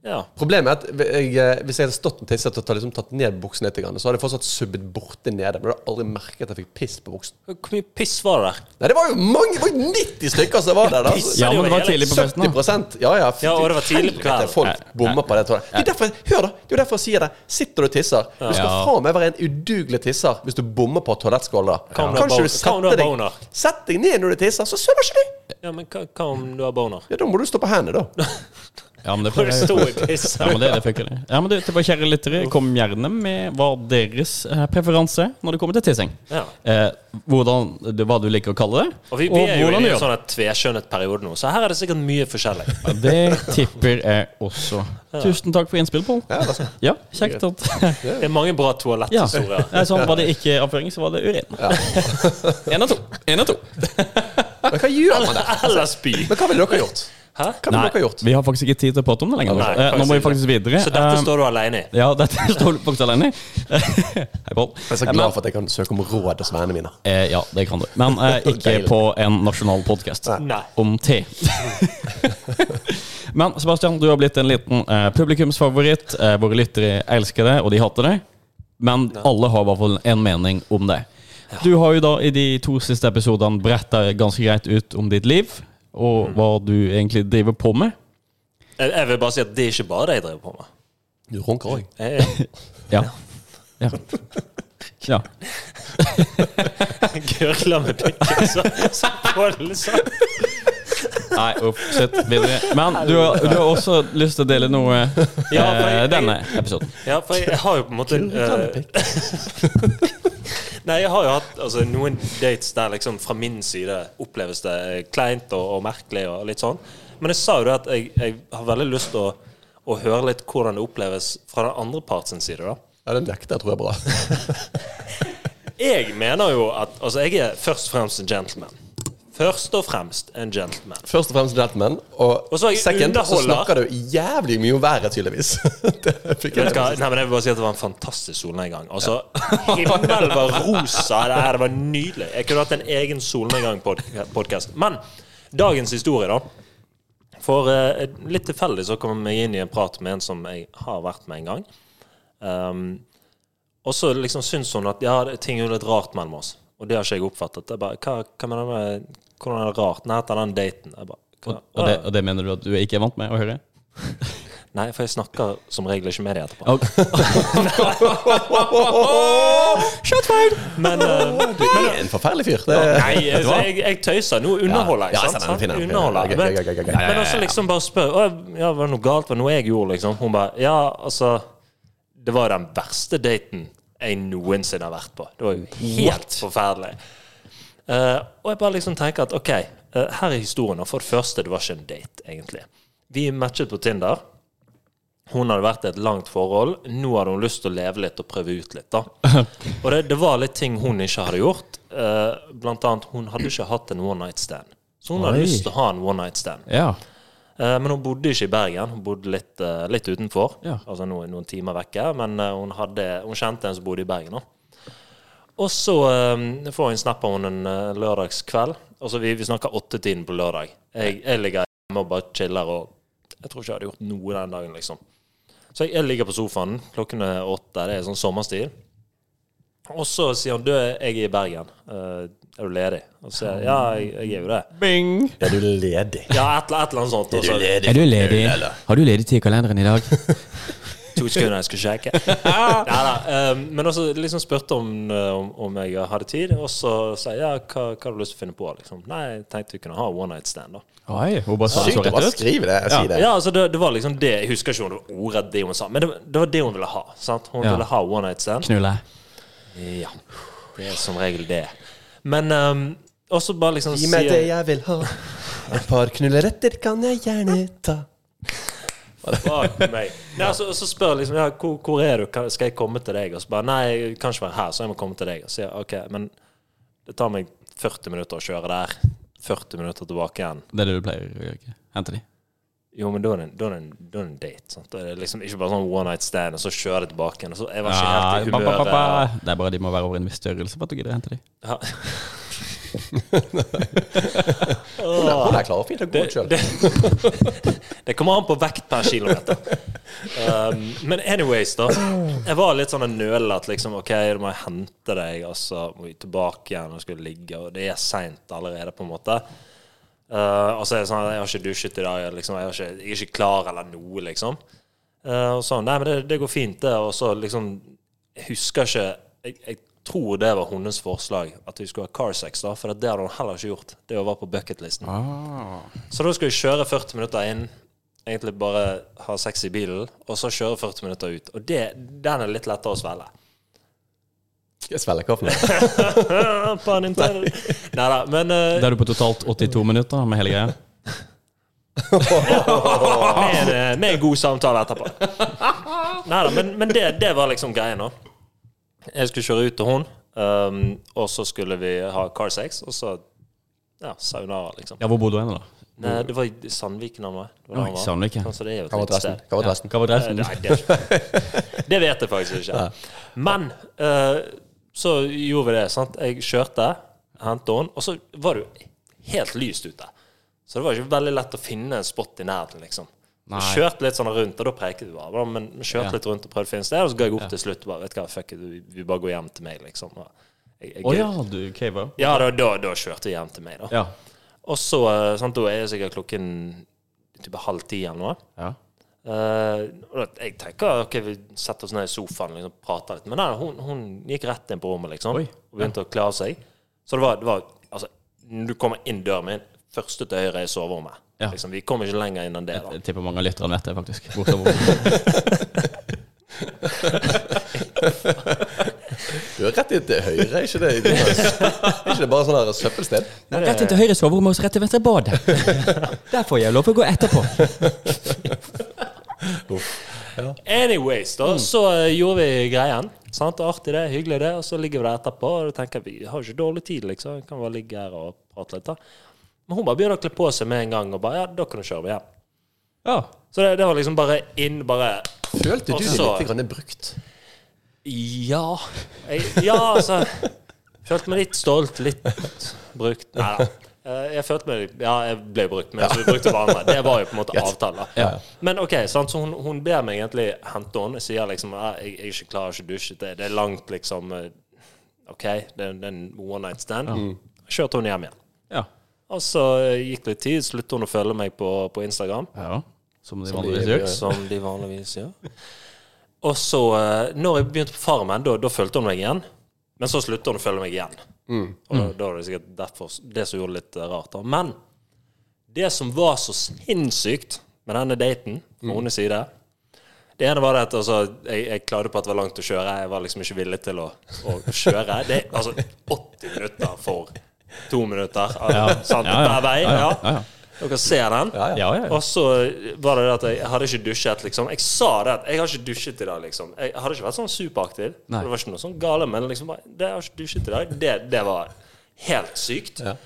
Ja.
Problemet er at jeg, eh, hvis jeg hadde stått og tisset og tatt, liksom, tatt ned buksen litt, grann, så hadde jeg fortsatt subbet borte nede. Men jeg hadde aldri merket at jeg fikk piss på buksen.
Hvor mye piss var det der?
Nei, det var jo mange! Det var jo 90 stykker som var der! da
Piss.
Ja, men det var tidlig på festen, da.
70 Ja, ja.
Ja, og det var tidlig på kvelden.
Helvete, Folk bommer på det. tror jeg. Det er derfor, hør, da! Det er jo derfor jeg sier det. Sitter du og tisser Du skal
Ja.
faen meg være en udugelig tisser hvis du bommer på toalettskåla.
Hva om du har
Kanskje
bo-
du
hva om du har
setter
boner?
deg Sett deg ned når du tisser, så søver ikke du!
Ja, men hva, hva om du har boner?
Ja, Da må du stå på hendene, da.
Ja, men det
Når du
får
står
jeg.
i piss
Ja, men det, det funker, det. Ja, men du, det var kjære lyttere, kom gjerne med hva deres eh, preferanse når det kommer til tissing.
Ja.
Eh, hvordan, det- hva du liker å kalle det,
Og vi, vi er jo
hvordan du
i
gjør
en
det.
sånn tveskjønnet periode nå, så her er det sikkert mye forskjellig.
Ja, Det tipper jeg også. Tusen takk for innspill, Pål.
Ja, da skal-
Ja, kjekt at
Det er mange bra
Ja.
toaletthistorier.
Nei, sånn, var det ikke avføring, så var det urin. Én av to. En av to.
Men hva gjør man der?
Eller spy.
Men hva ville dere gjort?
Hæ?
Hva ville dere gjort?
vi har faktisk ikke tid til å prate om det lenger.
Nei,
Eh, Nå må vi faktisk videre.
Så dette
Eh,
står du alene i.
Ja, dette står du faktisk alene i. Eh, Hei, Pål.
Jeg er så glad for at jeg kan søke om råd hos vennene mine.
Eh, ja, det kan du. Men eh, ikke
Deilig.
på en nasjonal podkast
Nei.
om te. Men Sebastian, du har blitt en liten eh, publikumsfavoritt. Eh, våre lyttere elsker det, og de hater det. Men alle har i hvert fall en mening om det. Du har jo da i de to siste episodene bretta ganske greit ut om ditt liv,
Mm.
og hva du egentlig driver på med.
Jeg, jeg vil bare si at det er ikke bare det jeg driver på med.
Du runker òg.
Jeg,
Ja. Ja. ja.
Gørla med pikken, så, så får det litt sånn
Nei, uff, shit, videre. Men du har, du har også lyst til å dele noe
Ja, for
eh,
jeg-
denne episoden.
Ja, for jeg, jeg har jo på en måte
Mm.
eh, Nei, jeg har jo hatt altså, noen dates der liksom fra min side oppleves det eh, kleint og, og merkelig og litt sånn. Men jeg sa jo det at jeg, jeg har veldig lyst til å, å høre litt hvordan det oppleves fra den andre parts sin side, da.
Ja, den nekter jeg tror jeg er bra.
Jeg mener jo at Altså, jeg er først og fremst en gentleman. Først og fremst en gentleman.
Først og fremst gentleman, og,
Og så er jeg
second så
underholder.
snakker du jævlig mye om været, tydeligvis. det fikk
Vet
jeg
du hva? Nei, men jeg vil bare si at Det var en fantastisk solnedgang. Altså, Himmelen var rosa. Det, her, det var nydelig. Jeg kunne hatt en egen solnedgang-podkast. Men dagens historie, da. For eh, litt tilfeldig så kom jeg inn i en prat med en som jeg har vært med en gang. Um, og så liksom syns hun at ja, det- ting er jo litt rart mellom oss. Og det har ikke jeg oppfattet. Jeg bare, hva, hva mener du med Hvordan er det rart? Nei, etter den daten. Jeg bare, hva?
Og, og,
Ah.
det, og det mener du at du ikke er vant med å høre?
Nei, for jeg snakker som regel ikke med deg etterpå.
Ok.
Men, eh, men
Det er en forferdelig fyr. Det er
Nei, altså, jeg, jeg tøyser. Nå underholder jeg.
Ja, ja,
sant?
stemmer, fin, fin, fin.
Underholder.
Gøy,
Men,
gøy, gøy, gøy, gøy. Ja, ja, ja,
men også liksom bare spør «Å, ja, var det noe galt? Var det noe jeg gjorde? liksom? Hun bare Ja, altså Det var den verste daten jeg noensinne har vært på. Det var jo helt forferdelig. Eh, og jeg bare liksom tenker at OK, eh, her er historien. Og for det første, det var ikke en date, egentlig. Vi matchet på Tinder. Hun hadde vært i et langt forhold. Nå hadde hun lyst til å leve litt og prøve ut litt. da. Og det, det var litt ting hun ikke hadde gjort. Eh, blant annet, hun hadde ikke hatt en one night stand. Så hun hadde
Oi.
lyst til å ha en one night stand.
Ja.
Eh, men hun bodde ikke i Bergen. Hun bodde litt, eh, litt utenfor,
Ja.
altså noen, noen timer vekke. Men eh, hun, hadde, hun kjente en som bodde i Bergen. Da. Og så eh, får jeg en snap av henne en eh, lørdagskveld. Altså, vi, vi snakker åttetiden på lørdag. Jeg, jeg ligger hjemme og bare chiller. og Jeg tror ikke jeg hadde gjort noe den dagen, liksom. Så jeg, jeg ligger på sofaen. Klokken er åtte. Det er sånn sommerstid. Og så sier hun du, jeg er i Bergen. Eh, er du ledig? Og så sier jeg ja, jeg, jeg er jo det.
Bing!
Er du ledig?
Ja, et, eller- et eller annet sånt. og så-
ledig?
du ledig? Har du ledig tid i kalenderen i dag?
To sekunder, jeg skal sjekke. Neida, um, men også liksom spurte om, eh, om, om jeg hadde tid, og så sa jeg ja, hva, hva har du lyst til å finne på? Liksom. Nei, jeg tenkte vi kunne ha one night stand, da.
Oi, hun bare sa det
Sykt
så
å bare
rett ut.
skrive det. Si det.
Ja, altså det, det var liksom det. Jeg husker ikke om det var ordrett det hun sa, men det, var- det var det hun ville ha. Sant? Hun
Ja.
ville ha one night stand.
Knulle.
Ja, det er som regel det. Men um, også bare liksom
Gi meg
sier-
det jeg vil ha. Et par knulleretter kan jeg gjerne ta.
Fuck meg. Nei, altså, og så spør jeg liksom ja, hvor, hvor er du? Kan, skal jeg komme til deg? Og så bare Nei, jeg kan ikke være her, så jeg må komme til deg. Og så sier jeg OK, men det tar meg 40 minutter å kjøre der. 40 minutter tilbake igjen.
Det er det du pleier å gjøre. ikke? Hente de.
Jo, men da er det en, da er det en, da er det en date. Sant? Da er det liksom ikke bare sånn one night stand, og så kjøre det tilbake igjen. Og så jeg var ikke helt i
Ah, ba, ba, ba,
humøret.
ba.
og-
Det er bare de må være over en viss størrelse for at du gidder å hente de.
Ja.
Hun er- hun er klar og fin til å gå ut sjøl.
Det kommer an på vekt per kilometer. Um, men anyways, da. Jeg var litt sånn nølende at liksom OK, da må jeg hente deg, og så må vi tilbake igjen og skulle ligge, og det er seint allerede, på en måte. Uh, og så er det sånn Jeg har ikke dusjet i dag, jeg liksom, jeg, har ikke, jeg er ikke klar eller noe, liksom. Eh, og sånn Nei, men det, det går fint, det. Og så liksom Jeg husker ikke Jeg, jeg tror det var hennes forslag, at vi skulle ha Carsex, da, for det hadde hun heller ikke gjort. Det var på bucketlisten. Så da skulle jeg kjøre 40 minutter inn, egentlig bare ha sex i bilen, og så kjøre 40 minutter ut. Og det, den er litt lettere å svelge.
Skal jeg svelge kaffen? Jeg
På Nintendo. Neida, men eh,
Da er du på totalt 82 minutter med hele greia.
med, en, med en god samtale etterpå. Neida, men, men det, det var liksom greia nå. Jeg skulle kjøre ut til hun, um, og så skulle vi ha car sex, og så ja, saunara, liksom.
Ja, Hvor bor du hen, da?
Nei, det var i Sandviken han var. Det var der han
Oi,
var.
Sandvik, ja.
Kanskje det er jo et
var
nytt sted.
dressen. Jeg var dressen.
Hva var
Eh,
dressen?
Nei, det, det vet jeg faktisk ikke. Men eh, så gjorde vi det. sant? Jeg kjørte, hentet henne, og så var det jo helt lyst ute. Så det var ikke veldig lett å finne en spot i nærheten, liksom. Vi
Nei.
kjørte litt sånn rundt, og da prekte vi bare. Men vi kjørte
Ja.
litt rundt og prøvde å finne et sted, og så ga jeg opp til slutt. bare, vet du hva, fuck it, vi- Vi bare går hjem til meg, liksom. Og Jeg, jeg,
Å ja, du cava.
ja da, da, da kjørte vi hjem til meg, da.
Ja.
Og så eh, sant, da er det sikkert klokken typ halv ti eller noe.
ja.
Eh, og jeg tenker ok, vi setter oss ned i sofaen og liksom, prater litt. Men nei, hun, hun gikk rett inn på rommet liksom,
Oi.
og begynte å kle av seg. Så det var, det var altså, Når du kommer inn døren min, første til høyre er soverommet.
Ja.
Liksom, vi kommer ikke lenger inn enn det. da
Jeg tipper mange av lytterne vet det, faktisk. Bortover.
Du er rett inn til høyre, er ikke det? Jonas? Er ikke det bare sånn her søppelsted?
Rett inn til høyre soverom og så rett til venstre bad. Der får jeg lov å gå etterpå.
Anyways, da,
Mm.
så eh, gjorde vi greien. Sant? Det er Artig det, hyggelig det. Og så ligger vi der etterpå, og da tenker jeg, vi har jo ikke dårlig tid, liksom. Vi kan bare ligge her og prate litt, da. Men hun bare begynner å kle på seg med en gang, og bare ja, da kan du kjøre vi hjem.
Ja.
Så det, det var liksom bare inn, bare
Følte du deg
Altså-
litt grann brukt?
Ja. Jeg, ja, altså. Følte meg litt stolt, litt brukt. Nei da. Eh, Jeg følte meg Ja, jeg ble brukt, men så vi brukte hverandre. Det var jo på en måte avtalen.
Ja.
Men OK, sant? så hun, hun ber meg egentlig hente henne. Jeg sier liksom «Ja, jeg, jeg er ikke klar, jeg har ikke dusjet, det, det er langt, liksom. eh, OK, det er det er en one night stand. Kjørte hun hjem igjen.
ja.
Og så eh, gikk det litt tid, sluttet hun å følge meg på, på Instagram.
ja. Som de
Som
vanligvis
de-
gjør.
Som de vanligvis gjør. Og så, eh, når jeg begynte på Farmen, da, da fulgte hun meg igjen. Men så sluttet hun å følge meg igjen.
Mm.
Og da, da var det sikkert derfor s- det som gjorde det litt eh, rart. da. Men det som var så sinnssykt med denne daten
Mm.
fra hennes side Det ene var det at altså, jeg, jeg klagde på at det var langt å kjøre. Jeg var liksom ikke villig til å, å kjøre. Det er altså 80 minutter for to minutter. al- Sant?
Ja, ja.
Hver vei.
Ja, ja.
Ja. Dere ser den.
Ja, ja.
Ja, ja, ja.
Og så var det det at jeg hadde ikke dusjet, liksom. Jeg sa det at jeg har ikke dusjet i dag, liksom. Jeg hadde ikke vært sånn superaktiv.
Nei.
Det var ikke noe sånn gale, men liksom bare, det jeg har ikke dusjet i dag, det, det var helt sykt.
Ja.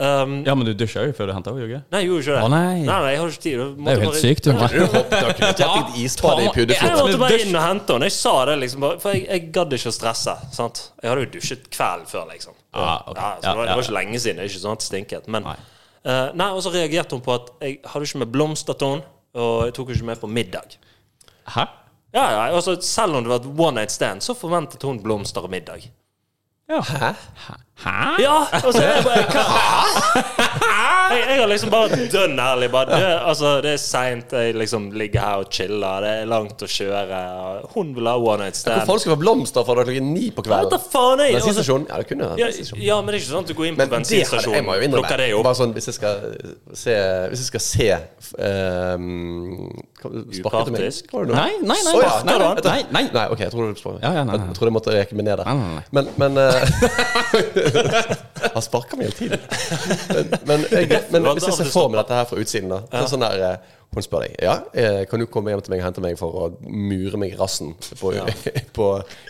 Um,
ja, men du dusja jo før du henta henne, gjorde du ikke?
Nei, jeg gjorde ikke det.
Å, nei.
nei, jeg har ikke tid. Jeg
Det
måtte
er jo helt
bare-
sykt. jo.
Du hoppet og kunne tatt litt isbad i
Jeg
Puddefjord.
måtte bare inn og hente henne. Jeg sa det, liksom. bare- For jeg, jeg gadd ikke å stresse. Sant? Jeg hadde jo dusjet kvelden før, liksom.
Ah, ok.
Ja, så
Ja,
det, var, det
ja.
var ikke lenge siden. Det er ikke sånn at det stinket. Men,
Nei.
Eh, nei, og så reagerte hun på at jeg hadde ikke med blomster til henne, og jeg tok henne ikke med på middag.
Hæ?
Ja, ja, altså Selv om det var et one night stand, så forventet hun blomster og middag.
Hæ?
Hæ?
Ja, og så er jeg bare Hva? Jeg, jeg har liksom bare dønn ærlig. Bare, det, altså, det er seint, jeg liksom ligger her og chiller, det er langt å kjøre. og Hun vil ha one night
Hvor
stand.
faen skal det være blomster fra klokken ni på
Hva
kvelden?
faen er altså,
Bensinstasjon? Ja, det kunne vært
ja,
bensinstasjon.
ja, men det er ikke sånn at du går inn på
Men det hadde jeg må jo
bensinstasjonen,
innrømme
plukker det opp.
bare sånn, Hvis jeg skal se, hvis jeg skal se ehm, hva- Sparket du meg?
Upartisk?
Var det noe?
Nei, nei, nei,
Å, ja,
sparket
nei,
du
nei,
han?
jeg tror-
Nei, nei.
Nei, ok, jeg tror du sparket
Ja, ja, nei, nei.
Jeg tror jeg måtte reke meg ned der.
Nei, nei, nei.
Men, men eh, Han sparker meg hele tiden. Men, men, jeg, men hvis jeg ser for meg dette her fra utsiden, da så er det sånn der, eh, Hun spør deg ja, eh, kan du komme hjem til meg og hente meg for å mure meg i rassen på, på,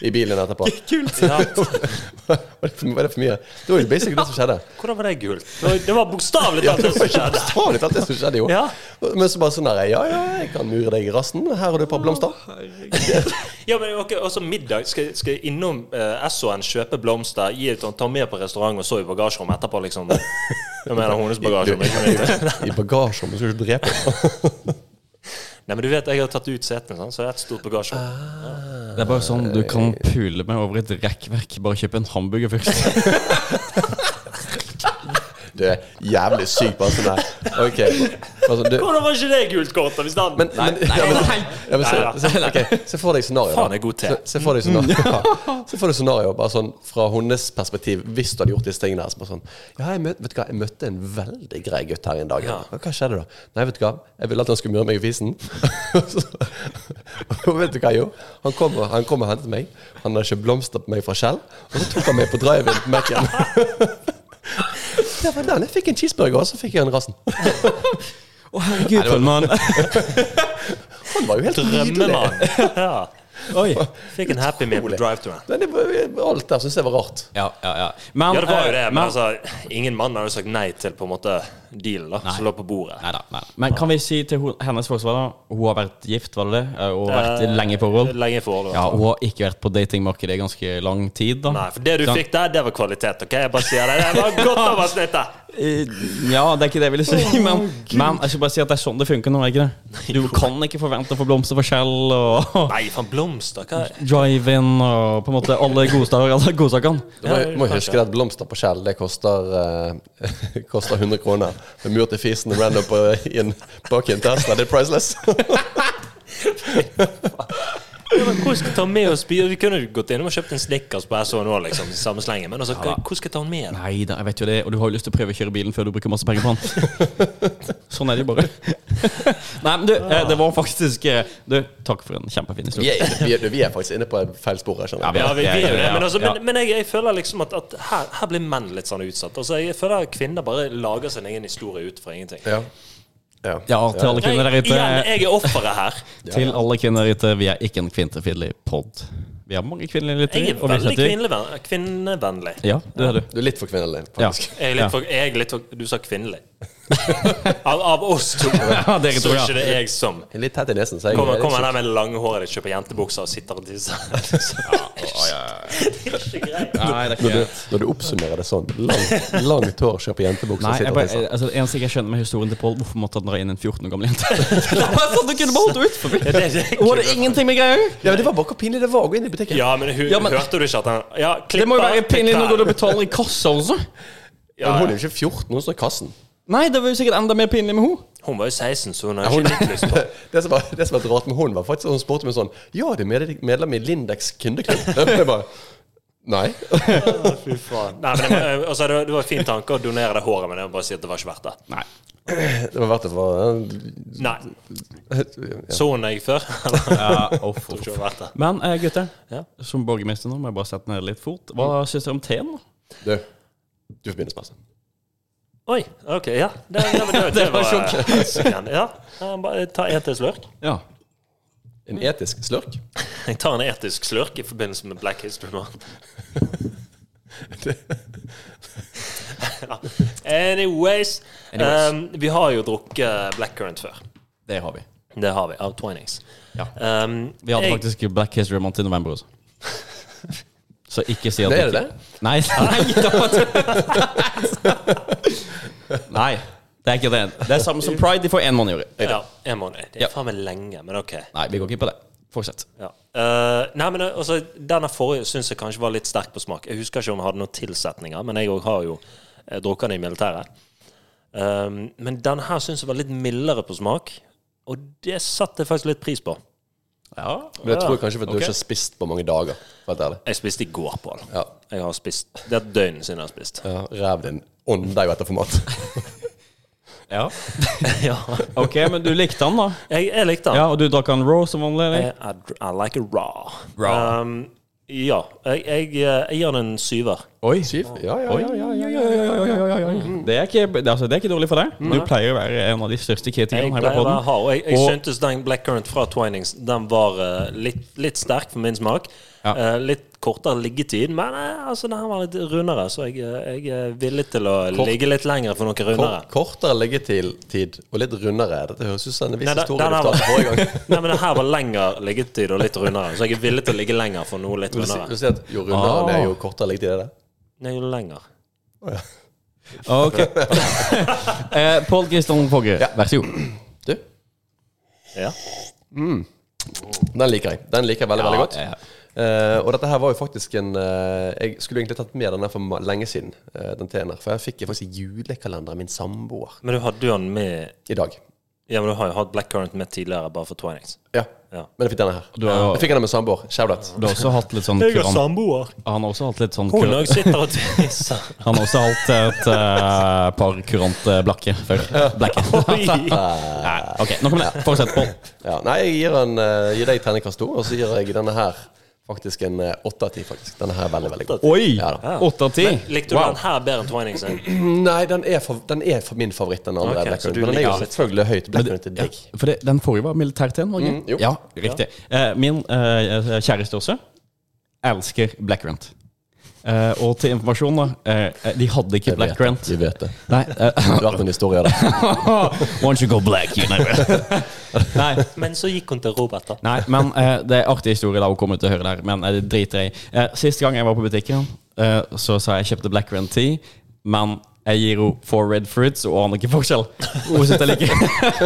i bilen etterpå.
Kult.
Ja,
Var det for- var det for mye? Det var jo basically det som skjedde.
hvordan var det gult? Det var- Det var bokstavelig
Ja,
talt det
det var
som
ikke
skjedde.
bokstavelig talt det som skjedde, jo.
Ja.
Men så bare sånn der Ja, ja, jeg kan mure deg i rassen. Her har du et par blomster.
Ja, men ok, også middag. Skal, skal jeg innom eh, SON, kjøpe blomster, gi et, sånt- ta med på restaurant og så i bagasjerommet etterpå, liksom? Jeg mener hennes bagasjerom. ikke mitt.
I bagasjerommet skal du ikke drepe meg.
Nei, men du vet, jeg har tatt ut setene, sånn, så det er et stort bagasjerom.
Det er bare sånn du kan pule meg over et rekkverk. Bare kjøpe en hamburger først.
Du er jævlig syk, bare sånn der. Ok. Bare sånn, du,
Hvordan var ikke det gult kort? da, Hvis den...
men, men, ja, men, ja, men se,
Nei,
se, ok, se for deg scenario. da.
Faen, jeg er god til. Mm.
Se, se for deg scenario. Se for deg scenario bare sånn fra hennes perspektiv, hvis du hadde gjort disse tingene her. Så bare sånn Ja, jeg møtte, vet du hva, jeg møtte en veldig grei gutt her en dag.
Ja.
Og Hva skjedde da? Nei, vet du hva, jeg ville at han skulle mure meg i fisen. og vet du hva, jo? Han kom, og- han kom og hentet meg. Han hadde kjøpt blomster på meg fra Shell, og så tok han meg på drive-in på Mac-en. Det var den. Jeg fikk en cheeseburger, og så fikk jeg en rassen.
Å, herregud, for en mann.
Han var jo helt nydelig.
Drømmemann. Ja.
Oi.
Fikk en happy meal på drive-to-en.
Men det var- Alt der syns jeg var rart.
Ja, ja, ja. Men,
Ja, det var jo
eh,
det, men altså, ingen mann hadde jo sagt nei til på en måte dealen da, som lå på bordet.
Neida, neida. Men kan vi si til hun, hennes forsvar, da? Hun har vært gift, var det det? Eh, Og vært i lenge i forhold?
Lenge i forhold.
Ja, hun har ikke vært på datingmarkedet i ganske lang tid, da.
Nei, for det du
Sant.
fikk der, det var kvalitet, ok? Jeg bare sier det. Det var godt over snittet.
Eh, Ja, det er ikke det jeg ville si, men, men jeg skal bare si at det er sånn det funker nå. er ikke det? Du kan ikke forvente å få blomster for Shell og
Nei, faen, blomster, hva er
drive-in og på en måte alle godsaker. Alle godsakene.
Du må,
Ja,
må
kanskje.
huske at blomster på skjell Det koster, eh, koster 100 kroner. Med mur til fisen og random på, i en, bak i en Tesla. Det er priceless.
Ja, men Hvor skal jeg ta med oss bi- Vi kunne jo gått inn og kjøpt en Snickers på SO nå, liksom. i Samme slengen. Men altså, hva- hvor skal jeg ta den med? da?
Nei da, jeg vet jo det, og du har jo lyst til å prøve å kjøre bilen før du bruker masse penger på den. Sånn er det jo bare. Nei, men du, eh, det var faktisk eh, Du, takk for en kjempefin historie.
Vi er, vi er, vi er faktisk inne på et feil spor her, skjønner du.
Ja,
Ja, vi, vi er jo det. Men, altså,
Ja.
men, men jeg, jeg føler liksom at, at her, her blir menn litt sånn utsatt. Altså, jeg føler at kvinner bare lager sin egen historie ut fra ingenting.
Ja. Ja.
Ja, til alle
Jeg,
kvinner der ute.
igjen, jeg er offeret her.
Til alle kvinner der ute, vi er ikke en kvinnefiendtlig pod. Vi har mange kvinnelige
Jeg
lyttere.
er
og vi
veldig
setter-
kvinneven- kvinnevennlig.
Ja, det er du.
Du er litt for kvinnelig,
Ja.
faktisk.
Jeg er litt for, jeg er litt for Du sa kvinnelig. Av, av oss to,
Ja, dere to,
så er
ja.
ikke det jeg som
Jeg er Litt tett i nesen, så jeg
Kommer,
jeg-
kommer der med langhåret ditt, kjøper jentebukser og sitter og tisser. Det er ikke greit.
Nei, det er
Når du, når du oppsummerer det sånn, langt, langt hår, kjøper jentebukse
Nei,
og
jeg
sitter og
bare,
tisser.
altså, det eneste jeg ikke skjønner med historien til Pål, hvorfor måtte han dra inn en 14 år gammel jente? det var sånn at du kunne bare holdt ut forbi.
Ja, det- det-
Og det er ingenting med greier.
Ja, men Det var bare hvor pinlig det var å gå inn i butikken.
Ja, men, hun,
Ja, men-
hørte du ikke at han ja,
Det må jo være
klipper,
pinlig når
klipper.
du betaler i kassa også.
Ja,
Hun er jo ikke 14, hun står i kassen.
Nei, det var jo sikkert enda mer pinlig med henne.
Hun var jo 16, så hun har ikke litt lyst på
Det som var, det som var rart med hun var faktisk at Hun spurte meg sånn Ja, du er medlem- medlem i Lindex kundeklubb? Jeg bare Nei.
Nei, men det var, altså, det var- det var en fin tanke å donere det håret, men jeg må bare si at det var ikke verdt det.
Nei.
Det var verdt det for eh,
Nei.
ja.
Så hun deg før? Eller? Tror ikke det var verdt det.
Men eh, gutter,
Ja.
som borgermester nå må jeg bare sette ned litt fort. Hva syns dere om teen? da?
Du, du får begynne
Oi, ok, ja. Det, ja, men det, det var sjokk. Ja, ja, bare ta en til slurk.
Ja.
En etisk slurk?
Jeg tar en etisk slurk i forbindelse med Black History Month. Anyways,
Anyways.
ehm, vi har jo drukket blackcurrant før.
Det har vi.
Det har vi. Av Twinings.
Ja.
Ehm,
Vi hadde
jeg-
faktisk Black History Month i november også. Så ikke si at
Det er
du
det?
ikke- Nei. Nei, det var Nei, det er ikke det. Det er samme som Pride. De får én måned i året.
Ja, en måned. Det
Ja.
er faen meg lenge, men ok.
Nei, vi går ikke på det. Fortsett.
Ja. Eh, nei, men altså, Denne forrige syns jeg kanskje var litt sterk på smak. Jeg husker ikke om den hadde noen tilsetninger, men jeg òg har jo eh, drukket den i militæret. Um, men denne her syns jeg var litt mildere på smak, og det satte jeg faktisk litt pris på.
Ja.
Men jeg tror jeg kanskje for at du
Ok.
ikke har spist på mange dager. For å være ærlig.
Jeg spiste i går, Pål.
Ja.
Jeg har spist Det er et døgn siden jeg har spist.
Ja, Ræv din ånder jo etter format.
ja.
ja.
Ok, men du likte den, da?
jeg, jeg likte den.
Ja, Og du drakk den raw som vanlig? eller?
I, I, I like it raw.
Raw.
Um, ja. Jeg, jeg, eh, jeg gir den en syver.
Oi.
Syv? Ja, ja, ja. ja, ja, ja.
Det er ikke, det- altså, det er ikke dårlig for deg. Du pleier å være en av de største kritikerne
Jeg
her på
pleier å være
podden
hard. og Jeg, jeg
Og-
syntes den Blackcurrant fra Twinings Den var eh, litt, litt sterk for min smak.
Ja.
Eh, litt kortere liggetid, men eh, altså, den her var litt rundere, så jeg, eh, jeg er villig til å ligge litt lenger for noen
Kort,
rundere.
kortere liggetid tid, og litt rundere. Dette høres ut som en viss
Nei, den-
historie
den
du
her var-
fortalte forrige gang.
Nei, men den her var lengre liggetid og litt rundere, så jeg er villig til å ligge lenger for noe litt
Vil du si, vil
rundere.
du si at jo rundere
Ah.
den er, jo kortere liggetid er det?
Nei, jo lenger.
Ok. eh, Pål Kristian Fogge, vær så god.
Du,
Ja.
den liker jeg. Den liker jeg veldig, veldig godt.
Ja, ja.
Eh, og dette her var jo faktisk en eh, Jeg skulle egentlig tatt med denne for ma- lenge siden. eh, den teen her, For jeg fikk faktisk julekalenderen min samboer
Men du hadde jo den med
i dag.
Ja, men du har jo hatt Blackcurrant med tidligere, bare for Twinings.
Ja,
Ja.
Men jeg fikk denne her.
Du har jo-
Jeg fikk den med samboer. Shout-out.
Du har også hatt litt sånn kurant-
samboer.
Han har også hatt litt sånn
Hun
kurant-
òg sitter og tisser.
Han har også hatt et eh, par kurante blakke før. Blakke. Nei, ok, nok om det. Fortsett, Pål.
Ja, nei, jeg gir, en, eh, gir deg terningkast to, og så gir jeg denne her faktisk en eh, åtte av ti. faktisk. Denne her er veldig, veldig god.
Oi!
Ja da.
Åtte av ti.
Likte du den her bedre enn Twinings? Jeg
Nei, den er, for, den er for min favoritt, den andre.
Ok,
Black
så
Current,
du
men den er jo
liker litt-
selvfølgelig høyt. Black Current er
Ja,
digg.
for det, den forrige var militærteen, var det
Mm, jo.
ikke? Ja, riktig. Eh, min eh, kjæreste også elsker Black Rent. Eh, og til informasjon, da. eh, de hadde ikke
Jeg vet
Black
det,
Rent.
Vi vet det.
Nei. eh,
Det har vært en historie av det.
once you go black, you never Nei.
Men så gikk hun til Robert, da.
Nei, men eh, det er artig historie da hun kommer til å høre der, men eh, det driter jeg i. Eh, siste gang jeg var på butikken, eh, så sa jeg jeg kjøpte black rent tea, men jeg gir henne four red fruits og aner ikke forskjell. Hun synes jeg liker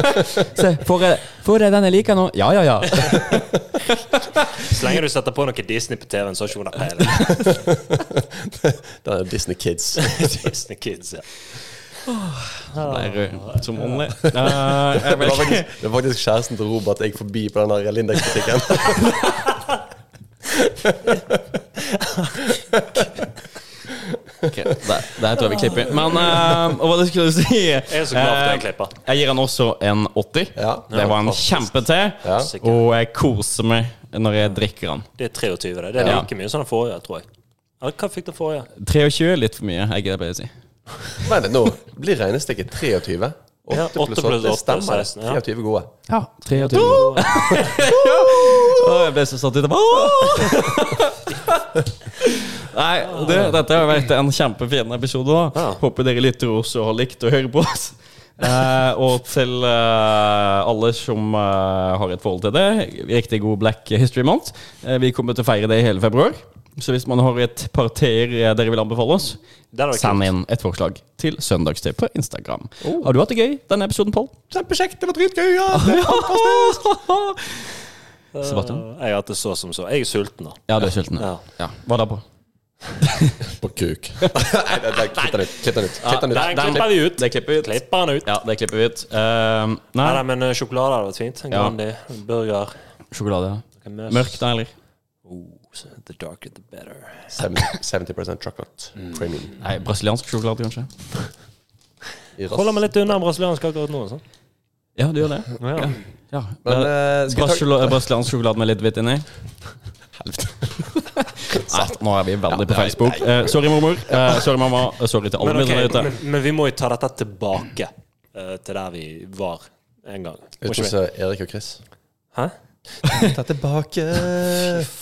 Se, får jeg, får jeg den jeg liker nå? Ja, ja, ja.
Så lenge du setter på noe Disney på TV-en, så har ikke hun peiling.
Den er Disney Kids.
Disney Kids, ja.
Så ble jeg rød som vanlig. Eh, jeg
Det
vet ikke.
var faktisk, det var faktisk kjæresten til Robert jeg gikk forbi på den der Lindex-butikken.
Ok, der, der tror jeg vi klipper. Men eh, hva var det jeg skulle si?
Jeg er så glad for at jeg
Eh,
klipper.
Jeg gir han også en 80.
Ja.
Det var en kjempe til.
Ja.
Og jeg koser meg når jeg drikker den.
Det er 23, det. Det er
Ja.
like mye som den forrige, tror jeg. Eller hva fikk den forrige?
23 er litt for mye, jeg gidder bare å si.
Vent litt nå. Blir regnestykket 23? 8
Ja, åtte
pluss 8, det
pluss åtte,
stemmer. det.
16, ja.
23 gode.
Ja, 23. Åh, jeg ble så satt ut av Åh! Nei, du, dette har vært en kjempefin episode. da
Ja.
Håper dere lytter også og har likt å høre på oss. Eh, og til eh, alle som eh, har et forhold til det, riktig god Black History Month. Eh, vi kommer til å feire det i hele februar. Så hvis man har et parter eh, dere vil anbefale oss,
Den var
send
kult.
inn et forslag til Søndagstid på Instagram. Har du hatt det gøy denne episoden, Pål?
Kjempekjekt, det var dritgøy! Ja.
Sebastian?
Eh, Jeg har hatt det så som så. Jeg er sulten, da.
Ja, du er sulten.
Ja.
Ja. Ja. Hva da på?
På kuk. Nei, nei, nei, klipp den ut. Klipp den ut. Klipp den ut.
Den klipper vi ut.
Det klipper vi ut.
Klipper den ut.
Ja, det klipper vi ut. Ehm, nei,
Nei, nei, men eh, sjokolade hadde vært fint. En
Ja.
Grandi, en burger.
sjokolade. ja.
en møss.
Mørk, da, eller?
Oh, the darker, the better.
70, 70 chocolate premium.
Nei, brasiliansk sjokolade, kanskje?
I rass.
Holder meg litt unna brasiliansk akkurat nå. Sånn.
Ja, du gjør det.
Ja.
Ja.
Men, eh,
Skal
skal jeg ta...
Brasiliansk sjokolade med litt hvitt inni? Nei, nå er vi veldig på
nei,
Facebook. Eh, sorry, mormor. Eh, sorry, mamma. Eh, Sorry til alle
Men, ok,
mine der
men,
ute.
men vi må jo ta dette tilbake eh, til der vi var en gang. Må
Uten
ikke
å
vi?
se Erik og Chris.
Hæ?
Ta tilbake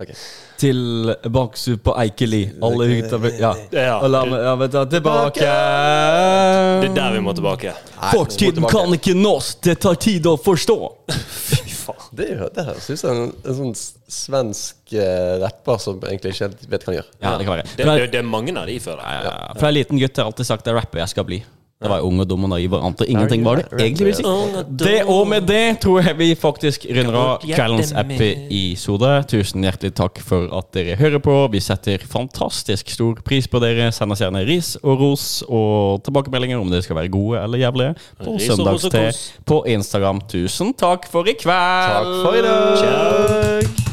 Ok.
Til baksu på Eikeli. Alle hytter Ja.
Ja,
Og la meg ja, vet du, tilbake.
det er der vi må tilbake.
Nei,
Fortiden
tilbake.
kan ikke nås. Det tar tid å forstå.
Fy faen.
Det, er jo- det her synes jeg er en, en sånn s- svensk eh, rapper som egentlig ikke helt vet hva han gjør.
Ja, det kan være.
Det,
Men-
det, det er mange av de, føler jeg.
Ja, For jeg er liten gutt jeg har alltid sagt det er rapper jeg skal bli. Da var jeg ung og dum og naiv og ante ingenting. var det egentlig vil si Det Og med det tror jeg vi faktisk runder av kveldens episode. Tusen hjertelig takk for at dere hører på. Vi setter fantastisk stor pris på dere. Send oss gjerne ris og ros og tilbakemeldinger om dere skal være gode eller jævlige på
Ris og ros og
søndagste
kos.
på Instagram. Tusen takk for i kveld.
Takk for i dag!
Ciao.